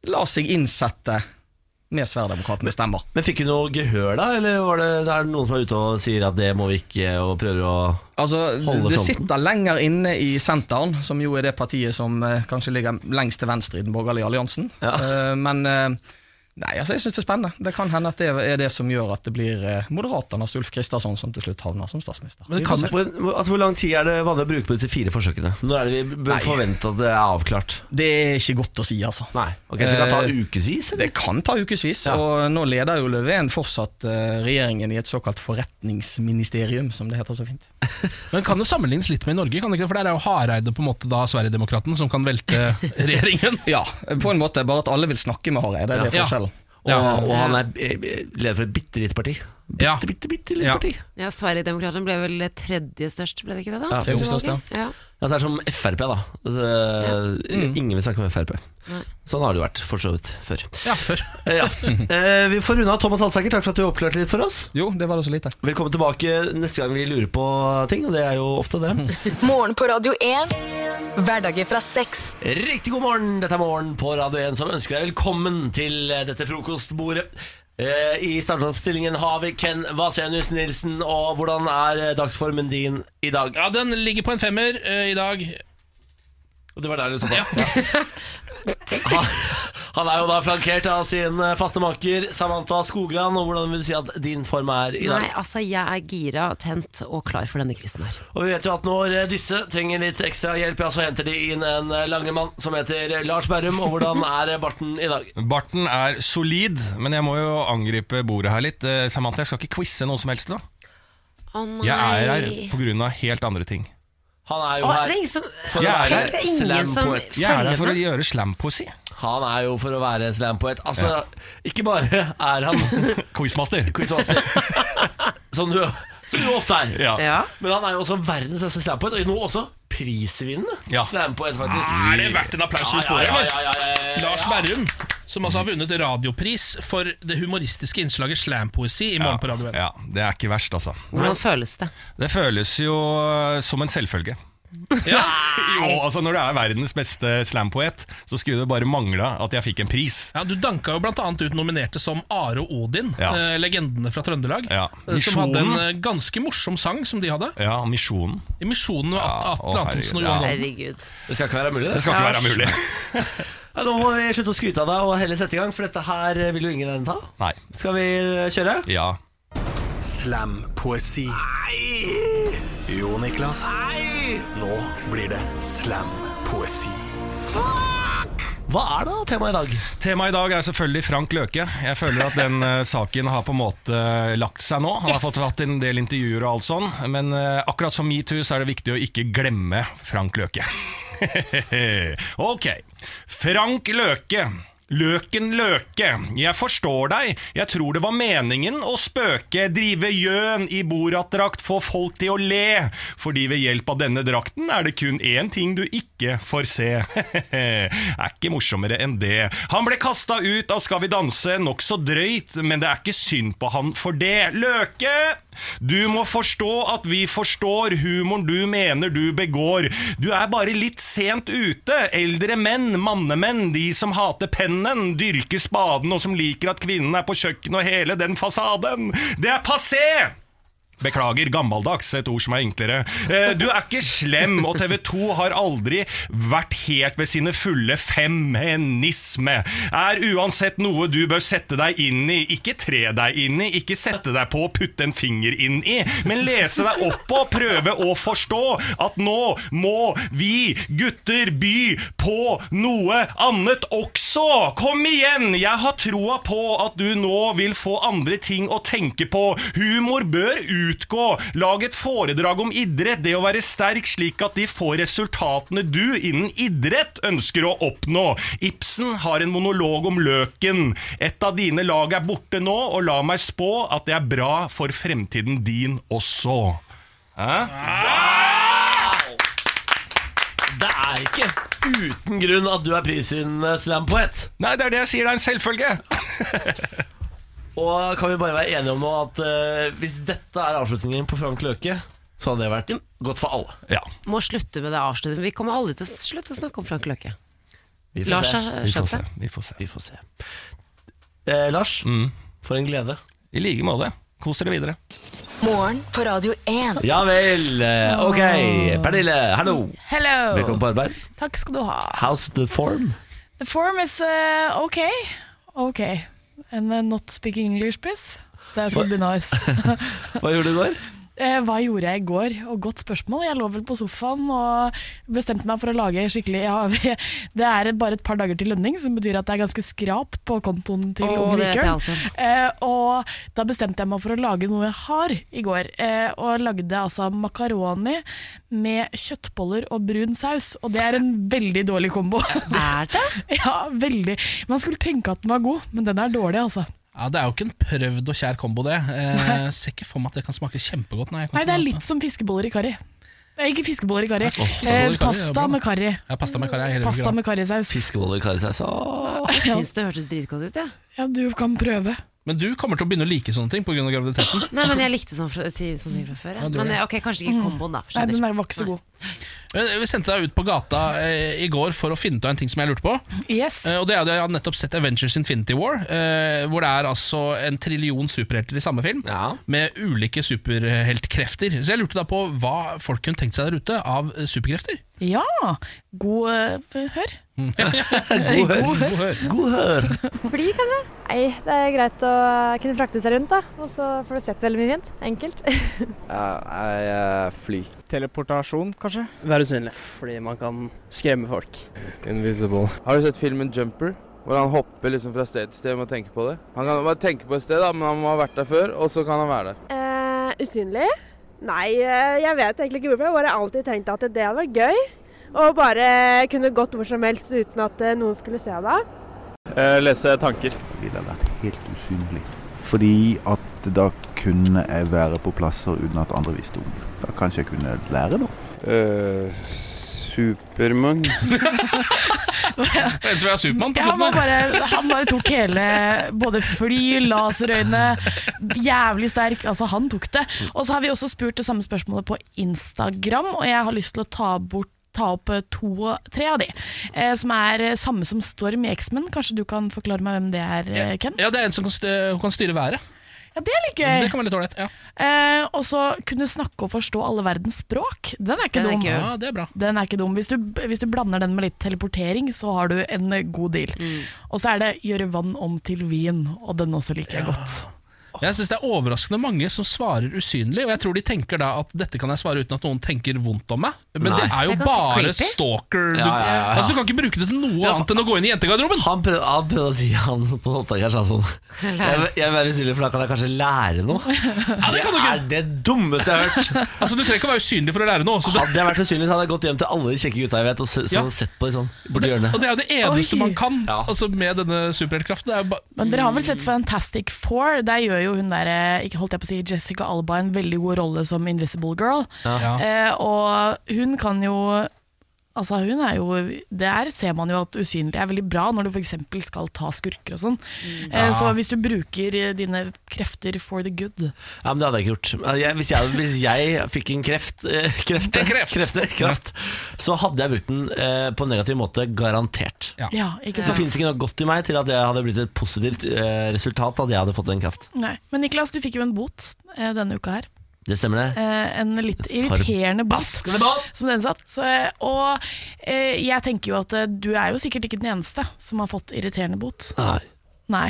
Speaker 11: la seg innsette med Sverigedemokraterna stemmer.
Speaker 1: Men fikk du noe gehør da, eller var det, det er det noen som er ute og sier at det må vi ikke, og prøver å
Speaker 11: Altså,
Speaker 1: holde
Speaker 11: det
Speaker 1: fronten?
Speaker 11: sitter lenger inne i Senteren, som jo er det partiet som eh, kanskje ligger lengst til venstre i den borgerlige alliansen. Eh, men eh, nei, altså, jeg syns det er spennende. Det kan hende at det er det som gjør at det blir eh, Moderaternas Ulf Kristersson som til slutt havner som statsminister.
Speaker 1: Men det
Speaker 11: Vi
Speaker 1: kan,
Speaker 11: får se.
Speaker 1: hvor, altså, hvor lang tid er det vanlig å bruke på disse fire forsøkene? Når er det vi bør
Speaker 11: Nei.
Speaker 1: forvente at det er avklart?
Speaker 11: Det er ikke godt å si, altså.
Speaker 1: Nei, ok, Så det kan ta
Speaker 11: Eh,
Speaker 1: ukevis?
Speaker 11: Det kan ta ukevis, og nå leder jo Løfven fortsatt eh, regjeringen i et såkalt forretningsministerium, som det heter så fint.
Speaker 2: Men kan det sammenlignes litt med i Norge? Kan det ikke? For der er jo Hareide på en måte da Sverigedemokraten som kan velte regjeringen.
Speaker 11: ja, på en måte. Bare at alle vil snakke med Hareide. Det er
Speaker 2: Ja.
Speaker 11: forskjellen.
Speaker 2: Ja.
Speaker 1: Og, og han er eh, leder for et bitte lite parti. Bitte, bitte, bitte lite parti.
Speaker 3: Ja, Sverigedemokraterna ble vel det tredje størst, ble det ikke det da?
Speaker 1: Ja, tredje
Speaker 3: Etter
Speaker 1: størst, ja.
Speaker 3: valget? ja.
Speaker 1: Altså, det er som Frp, da. Altså,
Speaker 2: Mm.
Speaker 1: Ingen vil snakke med Frp.
Speaker 3: Nei.
Speaker 1: Sånn har det jo vært for så vidt før.
Speaker 2: Ja, før.
Speaker 1: Eh, ja. Eh, vi får runde av. Thomas Alsaker, takk for at du oppklarte litt for oss.
Speaker 11: Jo, det var det så lite.
Speaker 1: Velkommen tilbake neste gang vi lurer på ting, og det er jo ofte det.
Speaker 5: Morgen på Radio 1. Hverdager fra seks.
Speaker 1: Riktig god morgen, dette er Morgen på Radio 1 som ønsker deg velkommen til eh, dette frokostbordet. Eh, I startoppstillingen har vi Ken Vasenius Nilsen, og hvordan er eh, dagsformen din i dag?
Speaker 2: Ja, den ligger på en femmer eh, i dag.
Speaker 1: Og det var der du stoppa? Han, han er jo da flankert av sin eh, faste maker Samantha Skogran, og hvordan vil du si at din form er i dag?
Speaker 3: Nei, altså jeg er gira, tent og klar for denne quizen her.
Speaker 1: Og vi vet jo at når eh, disse trenger litt ekstra hjelp, ja, så henter de inn en eh, langemann som heter eh, Lars Berrum. Og hvordan er eh, barten i dag?
Speaker 10: Barten er solid, men jeg må jo angripe bordet her litt. Eh, Samantha, jeg skal ikke quize noen som helst nå.
Speaker 3: Å nei.
Speaker 10: Jeg er her pga. helt andre ting.
Speaker 1: Han er jo
Speaker 3: Å,
Speaker 1: her
Speaker 3: det er ingen som,
Speaker 1: for å
Speaker 10: Jeg er
Speaker 1: være
Speaker 10: her.
Speaker 3: det er ingen som
Speaker 1: slampoet.
Speaker 10: Jeg er her for å
Speaker 3: følger med.
Speaker 10: gjøre slampoesi.
Speaker 1: Han er jo for å være slampoet. Altså, ikke bare er han
Speaker 10: Quizmaster.
Speaker 1: quizmaster, som du, som du ofte er,
Speaker 10: Ja. Ja.
Speaker 1: men han er jo også verdens beste slampoet, og nå også prisvinnende
Speaker 10: Ja.
Speaker 1: slampoet, faktisk.
Speaker 2: Er det verdt en applaus for sporet,
Speaker 1: ja,
Speaker 2: eller?
Speaker 1: ja, ja, ja, ja, ja.
Speaker 2: Lars Berrum, som altså har vunnet radiopris for det humoristiske innslaget slampoesi i Morgen på Radio 1.
Speaker 10: Ja, det er ikke verst, altså.
Speaker 3: Hvordan føles det?
Speaker 10: Det føles jo eh, som en selvfølge. jo, altså Når du er verdens beste slampoet, så skulle det bare mangle at jeg fikk en pris.
Speaker 2: Ja, Du danka jo blant annet ut nominerte som Are og Odin,
Speaker 10: Ja.
Speaker 2: eh, legendene fra Trøndelag.
Speaker 10: Ja.
Speaker 2: eh, Som hadde en
Speaker 10: Misjonen.
Speaker 2: eh, ganske morsom sang som de hadde.
Speaker 10: Ja, Misjonen.
Speaker 2: I Misjonen med
Speaker 10: Ja, å,
Speaker 2: Atle Antonsen og Johan
Speaker 10: herregud. Ja.
Speaker 2: Holden.
Speaker 3: Herregud.
Speaker 1: Det skal ikke være mulig,
Speaker 10: Det skal ikke være mulig.
Speaker 1: Ja, nå må vi slutte å skryte av deg og heller sette i gang, for dette her vil jo ingen ta.
Speaker 10: Nei.
Speaker 1: Skal vi kjøre?
Speaker 10: Ja.
Speaker 7: Slampoesi. Jo, Niklas. Nå blir det slampoesi.
Speaker 1: Hva er da temaet i dag?
Speaker 10: Temaet i dag er selvfølgelig Frank Løke. Jeg føler at den eh, saken har på en måte eh, lagt seg nå. Han har
Speaker 1: Yes!
Speaker 10: fått hatt en del intervjuer og alt sånn, men eh, akkurat som metoo så er det viktig å ikke glemme Frank Løke. ok. Frank Løke. Løken Løke, jeg forstår deg, jeg tror det var meningen å spøke, drive gjøn i boratdrakt, få folk til å le, fordi ved hjelp av denne drakten er det kun én ting du ikke får se. er ikke morsommere enn det. Han ble kasta ut av Skal vi danse, nokså drøyt, men det er ikke synd på han for det. Løke! Du må forstå at vi forstår humoren du mener du begår. Du er bare litt sent ute. Eldre menn, mannemenn, de som hater pennen, dyrker spaden og som liker at kvinnen er på kjøkkenet og hele den fasaden. Det er passé! Beklager, gammeldags, et ord som er enklere. Eh, Du er ikke slem, og TV 2 har aldri vært helt ved sine fulle feminisme. Er uansett noe du bør sette deg inn i, ikke tre deg inn i, ikke sette deg på å putte en finger inn i, men lese deg opp på, prøve å forstå at nå må vi gutter by på noe annet også. Kom igjen! Jeg har troa på at du nå vil få andre ting å tenke på. Humor bør utgå. Lag et foredrag om idrett, det å være sterk, slik at de får resultatene du innen idrett ønsker å oppnå. Ibsen har en monolog om løken. Et av dine lag er borte nå, og la meg spå at det er bra for fremtiden din også. Hæ?
Speaker 1: Det er ikke uten grunn at du er prisvinnende slampoet.
Speaker 10: Nei, det er det jeg sier, det er en selvfølge.
Speaker 1: Og kan vi bare være enige om nå at eh, hvis dette er avslutningen på Frank Løke, så hadde det vært godt for alle.
Speaker 10: Ja.
Speaker 3: Må slutte med det avsluttet. Vi kommer aldri til å slutte å snakke om Frank Løke.
Speaker 1: Vi får
Speaker 3: Lars
Speaker 1: se.
Speaker 3: har
Speaker 1: Vi får
Speaker 3: skjønt det.
Speaker 10: se. Vi får se. Mm.
Speaker 1: Eh, Lars, for en glede.
Speaker 10: I like måte. Kos dere videre.
Speaker 5: Morgen på Radio 1.
Speaker 1: Ja vel. eh, Ok, Pernille, hallo.
Speaker 12: Hello.
Speaker 1: Velkommen på arbeid.
Speaker 12: Takk skal du ha.
Speaker 1: How's the form?
Speaker 12: The form is uh, okay. Okay. And uh, not speaking English, please. That would be nice.
Speaker 1: Hva gjorde du i går?
Speaker 12: Eh, Hva gjorde jeg i går? Og godt spørsmål. Jeg lå vel på sofaen og bestemte meg for å lage skikkelig ja, vi- Det er bare et par dager til lønning, som betyr at det er ganske skrap på kontoen til
Speaker 3: Åh,
Speaker 12: Unge
Speaker 3: det vet jeg
Speaker 12: Vikørn.
Speaker 3: alt
Speaker 12: Eh, og da bestemte jeg meg for å lage noe jeg har i går. Eh, og lagde altså makaroni med kjøttboller og brun saus. Og det er en veldig dårlig kombo.
Speaker 3: Er
Speaker 12: det? Ja, veldig. Man skulle tenke at den var god, men den er dårlig, altså.
Speaker 2: Ja, Det er jo ikke en prøvd og kjær kombo, det. Eh, ser ikke for meg at det kan smake kjempegodt. Nei, jeg kan
Speaker 12: Nei,
Speaker 2: ikke
Speaker 12: det er
Speaker 2: noe-
Speaker 12: litt som fiskeboller i karri. Eh, Ikke fiskeboller i karri.
Speaker 2: Åh, fiskeboller i karri,
Speaker 12: eh,
Speaker 2: det er bra.
Speaker 12: pasta med karri.
Speaker 2: Ja, pasta med karri. er hele
Speaker 12: Pasta
Speaker 2: greia.
Speaker 12: med karrisaus.
Speaker 1: Fiskeboller i karrisaus.
Speaker 12: Jeg synes
Speaker 3: det hørtes dritgodt ut, jeg.
Speaker 12: Ja, du kan prøve.
Speaker 2: Men du kommer til å begynne å like sånne ting pga. graviditeten.
Speaker 3: Nei, men jeg likte sånn fra, til, sånne ting fra før.
Speaker 2: Ja,
Speaker 3: Jeg.
Speaker 2: du
Speaker 3: Men
Speaker 2: gjør
Speaker 3: eh,
Speaker 2: det.
Speaker 3: ok, kanskje ikke komboen, da.
Speaker 12: Nei, den der var ikke så god.
Speaker 2: Eh, Vi sendte deg ut på gata eh, i går for å finne ut av en ting som jeg lurte på.
Speaker 12: Yes.
Speaker 2: Eh, og det er at Jeg har nettopp sett Avengers Infinity War, eh, hvor det er altså en trillion superhelter i samme film, med ulike superheltkrefter. Så jeg lurte da på hva folk kunne tenkt seg der ute av eh, superkrefter.
Speaker 12: Ja, god eh, hør.
Speaker 2: God hør.
Speaker 1: God hør.
Speaker 13: Fly, kanskje? Nei, det er greit å kunne frakte seg rundt, da. Og så får du sett veldig mye fint. Enkelt.
Speaker 4: uh,
Speaker 14: fly.
Speaker 15: Teleportasjon, kanskje?
Speaker 14: Være usynlig, fordi man kan skremme folk.
Speaker 15: Invisible. Har du sett filmen Jumper? Hvor han hopper liksom fra sted til sted med å tenke på det. Han kan bare tenke på et sted, da, men han må ha vært der før, og så kan han være der.
Speaker 16: Eh, usynlig? Nei, eh, jeg vet egentlig ikke hvorfor. Jeg har bare alltid tenkt at det hadde vært gøy. Å bare kunne gått hvor som helst uten at eh, noen skulle se deg.
Speaker 15: lese tanker.
Speaker 17: ville det vært helt usynlig. Fordi at da kunne jeg være på plasser uten at andre visste om det. Da kanskje jeg kunne lære noe.
Speaker 15: Supermann.
Speaker 2: En som er Supermann på
Speaker 12: Ja, han,
Speaker 2: slutten
Speaker 12: var
Speaker 2: der.
Speaker 12: bare, han bare tok hele Både fly, laserøyne Jævlig sterk Altså han tok det Og så har vi også spurt det samme spørsmålet på Instagram Og jeg har lyst til å ta, bort, ta opp eh, to, tre av de eh, Som er eh, samme som Storm i X-Men Kanskje du kan forklare meg hvem det er, eh, Ken?
Speaker 2: Ja, Det er en som kan, styre, kan styre været.
Speaker 12: Ja, det er litt
Speaker 2: Så Altså, Det
Speaker 12: gøy
Speaker 2: kan være litt ålreit. Ja.
Speaker 12: eh, Og så kunne snakke og forstå alle verdens språk Den er ikke
Speaker 2: Den er
Speaker 12: dum
Speaker 2: gøy. Ja, det er bra.
Speaker 12: Den er ikke dum hvis du, hvis du blander den med litt teleportering Så har du en god deal
Speaker 2: Mm.
Speaker 12: Og så er det gjøre vann om til vin Og den også liker jeg godt
Speaker 2: Jeg synes Det er overraskende mange som svarer usynlig, og jeg tror de tenker da at dette kan jeg svare uten at noen tenker vondt om meg. Men
Speaker 1: Nei.
Speaker 2: det er jo
Speaker 1: Det er ganske
Speaker 2: bare
Speaker 1: creepy.
Speaker 2: stalker. Du,
Speaker 1: Ja, ja, ja, ja.
Speaker 2: Altså, du kan ikke bruke det til noe annet enn å gå inn i jentegarderoben!
Speaker 1: Han prøvde, han prøvde å si han på opptaket her, sa han sånn Jeg, jeg vil være usynlig, for da kan jeg kanskje lære noe. det, er det dummeste jeg har hørt.
Speaker 2: Altså, Du trenger ikke å være usynlig for å lære noe. Så det,
Speaker 1: Hadde jeg vært usynlig, så hadde jeg gått hjem til alle de kjekke gutta jeg vet, og så, så
Speaker 2: Ja.
Speaker 1: sett på dem sånn borti hjørnet.
Speaker 2: og det er jo det eneste
Speaker 12: Oi.
Speaker 2: man kan altså, med denne superheltkraften. Det er jo ba-
Speaker 12: Men dere har vel
Speaker 2: Mm.
Speaker 12: sett Fantastic Four? Der gjør jo hun der, eh, ikke holdt jeg på å si, Jessica Alba en veldig god rolle som Invisible Girl.
Speaker 2: Ja.
Speaker 12: Eh, og hun kan jo Altså hun er jo, Der ser man jo at usynlig er veldig bra når du f.eks. skal ta skurker og sånn. Eh,
Speaker 1: Ja.
Speaker 12: så hvis du bruker eh, dine krefter for the good
Speaker 1: Ja, men det hadde jeg ikke gjort. Jeg, hvis, jeg, hvis jeg fikk en kreft, eh, krefte, krefte, kraft, så hadde jeg brukt den eh, på en negativ måte, garantert.
Speaker 12: Ja, ikke
Speaker 1: Det
Speaker 12: sant?
Speaker 1: finnes ikke noe godt i meg til at det hadde blitt et positivt eh, resultat at jeg hadde fått en kraft.
Speaker 12: Nei. Men Niklas, du fikk jo en bot eh, denne uka her.
Speaker 1: Det stemmer det?
Speaker 12: Eh, en litt irriterende bass, som den satt. Så, eh, og eh, jeg tenker jo at eh, du er jo sikkert ikke den eneste som har fått irriterende bot.
Speaker 1: Nei.
Speaker 12: Nei.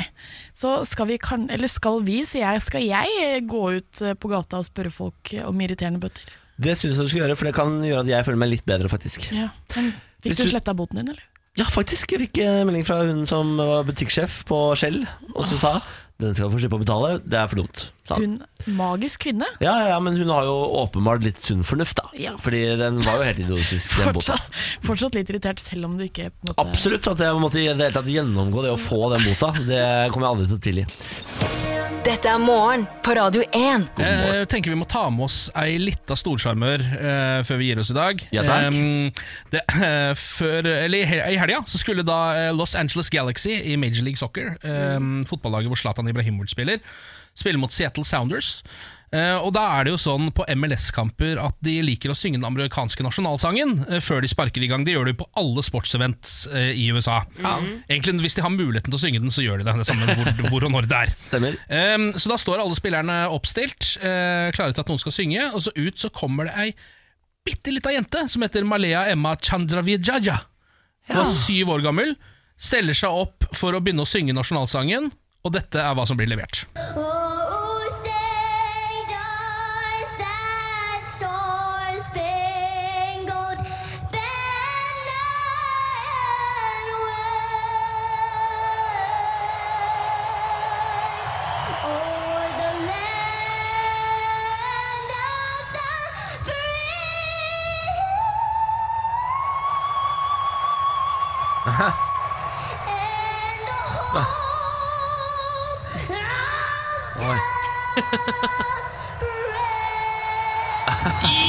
Speaker 12: Så skal vi, kan, eller skal vi, sier jeg, skal jeg eh, gå ut eh, på gata og spørre folk eh, om irriterende bøtter?
Speaker 1: Det syns jeg du skal gjøre, for det kan gjøre at jeg føler meg litt bedre, faktisk.
Speaker 12: Ja. Men
Speaker 1: Hvis
Speaker 12: fikk du
Speaker 1: du-
Speaker 12: sletta boten din, eller?
Speaker 1: Ja, faktisk. Jeg fikk en melding fra hun som var butikksjef på Shell, og
Speaker 12: Ah.
Speaker 1: som sa den skal få slippe å betale, det er for dumt. Sa han.
Speaker 12: Hun magisk kvinne.
Speaker 1: Ja, ja, men hun har jo åpenbart litt sunn fornuft, da.
Speaker 12: Ja.
Speaker 1: Fordi den var jo helt idiotisk, den bota.
Speaker 12: Fortsatt, eh. fortsatt litt irritert, selv om du ikke på en måte,
Speaker 1: Absolutt at jeg måtte i det hele tatt gjennomgå det å få den bota. Det kommer jeg aldri til å tilgi.
Speaker 5: Dette er morgen på Radio 1.
Speaker 2: Eh, Jeg tenker vi må ta med oss ei lita storsjarmør eh, før vi gir oss i dag.
Speaker 5: Ja, takk.
Speaker 2: Em, det, eh, før, eller i hel- I helga så skulle da eh, Los Angeles Galaxy i Major League Soccer,
Speaker 5: Mm.
Speaker 2: em, fotballaget hvor Zlatan Ibrahimovic spiller, spille mot Seattle Sounders. Eh, og da er det jo sånn på MLS-kamper at de liker å synge den amerikanske nasjonalsangen eh, før de sparker i gang. Det gjør de på alle sportsevents eh, i USA. Egentlig Hvis de har muligheten til å synge den, så gjør de det. Det er samme hvor, hvor og når det er. Ehm, så da står alle spillerne oppstilt, eh, klare til at noen skal synge, og så ut så kommer det ei bitte lita jente som heter Malea Emma Chandravijaja. Hun er syv år gammel, steller seg opp for å begynne å synge nasjonalsangen, og dette er hva som blir levert.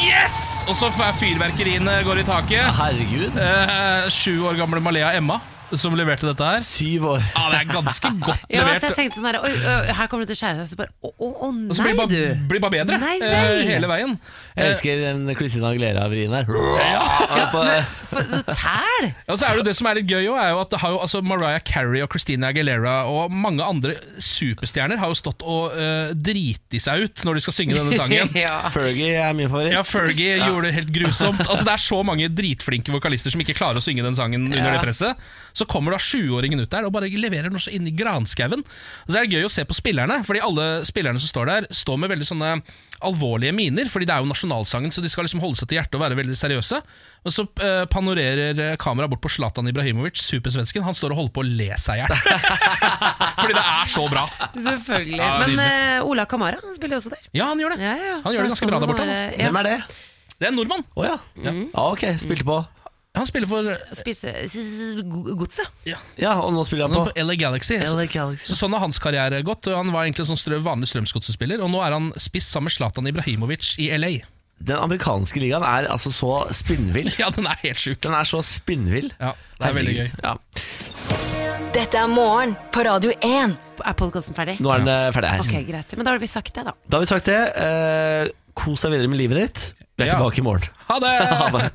Speaker 2: Yes! Og så er fyrverkeriene går i taket.
Speaker 1: Herregud
Speaker 2: eh, Sju år gamle Malea Emma som leverte dette her.
Speaker 1: Syv år.
Speaker 2: Ja, det er ganske godt
Speaker 3: Ja,
Speaker 2: levert.
Speaker 3: så jeg tenkte sånn her, oi, oi, her kommer det til å skjære seg. Så bare, å, å, å nei,
Speaker 2: Og så blir det
Speaker 3: du.
Speaker 2: bare, blir bare bedre
Speaker 3: Nei,
Speaker 2: eh,
Speaker 3: nei.
Speaker 2: hele veien.
Speaker 1: Jeg elsker den Christina Aguilera-vrien her. På- eh,
Speaker 3: Tæl!
Speaker 2: Ja, og så er det jo det som er litt gøy også, er jo at det har jo, altså Mariah Carey og Christina Aguilera og mange andre superstjerner har jo stått og eh, driti seg ut når de skal synge denne sangen.
Speaker 1: Ja. Fergie er min favoritt.
Speaker 2: Ja, Fergie
Speaker 1: Ja.
Speaker 2: gjorde det helt grusomt. Altså Det er så mange dritflinke vokalister som ikke klarer å synge den sangen under
Speaker 1: Ja.
Speaker 2: det presset. Så kommer da sjuåringen ut der og bare leverer den også inn i granskauen. Og så er det gøy å se på spillerne, fordi alle spillerne som står der, står med veldig sånne alvorlige miner, fordi det er jo nasjonalsangen, så de skal liksom holde seg til hjertet og være veldig seriøse. Men så eh, panorerer eh, kameraet bort på Zlatan Ibrahimovic, supersvensken. Han står og holder på å le seg i hjel. fordi det er så bra.
Speaker 3: Selvfølgelig.
Speaker 2: Ja,
Speaker 3: Men
Speaker 2: nydelig.
Speaker 3: eh, Ola Kamara han spiller jo også der.
Speaker 2: Ja, han gjør det.
Speaker 3: Ja, ja,
Speaker 2: Han gjør det ganske
Speaker 3: sånn
Speaker 2: bra der borte. han.
Speaker 1: Hvem er det?
Speaker 2: Det er en nordmann.
Speaker 1: Å ja. ja. ok. Spilte på
Speaker 2: Han spiller for
Speaker 3: Spise s- godset.
Speaker 1: Ja, og nå spiller han
Speaker 2: Han
Speaker 1: på
Speaker 2: er på LA Galaxy. Så-
Speaker 1: LA Galaxy.
Speaker 2: Så sånn har hans karriere gått. og Han var egentlig en sånn strø, vanlig Strømsgodset-spiller, og nå er han spiss sammen med Zlatan Ibrahimovic i LA.
Speaker 1: Den amerikanske ligaen er altså så spinnvill.
Speaker 2: ja, den er helt sjuk.
Speaker 1: Den er så spinnvill.
Speaker 2: Ja, det er veldig gøy.
Speaker 1: Ja.
Speaker 3: Dette er morgen på Radio 1. Er podkasten ferdig?
Speaker 1: Nå er den eh, ferdig her.
Speaker 3: Ok, greit. Men da har vi sagt det, da.
Speaker 1: Da har vi sagt det. Eh, kos deg videre med livet ditt. Vi er
Speaker 3: Ja.
Speaker 1: tilbake i morgen.
Speaker 2: Ha det!
Speaker 1: Ha det.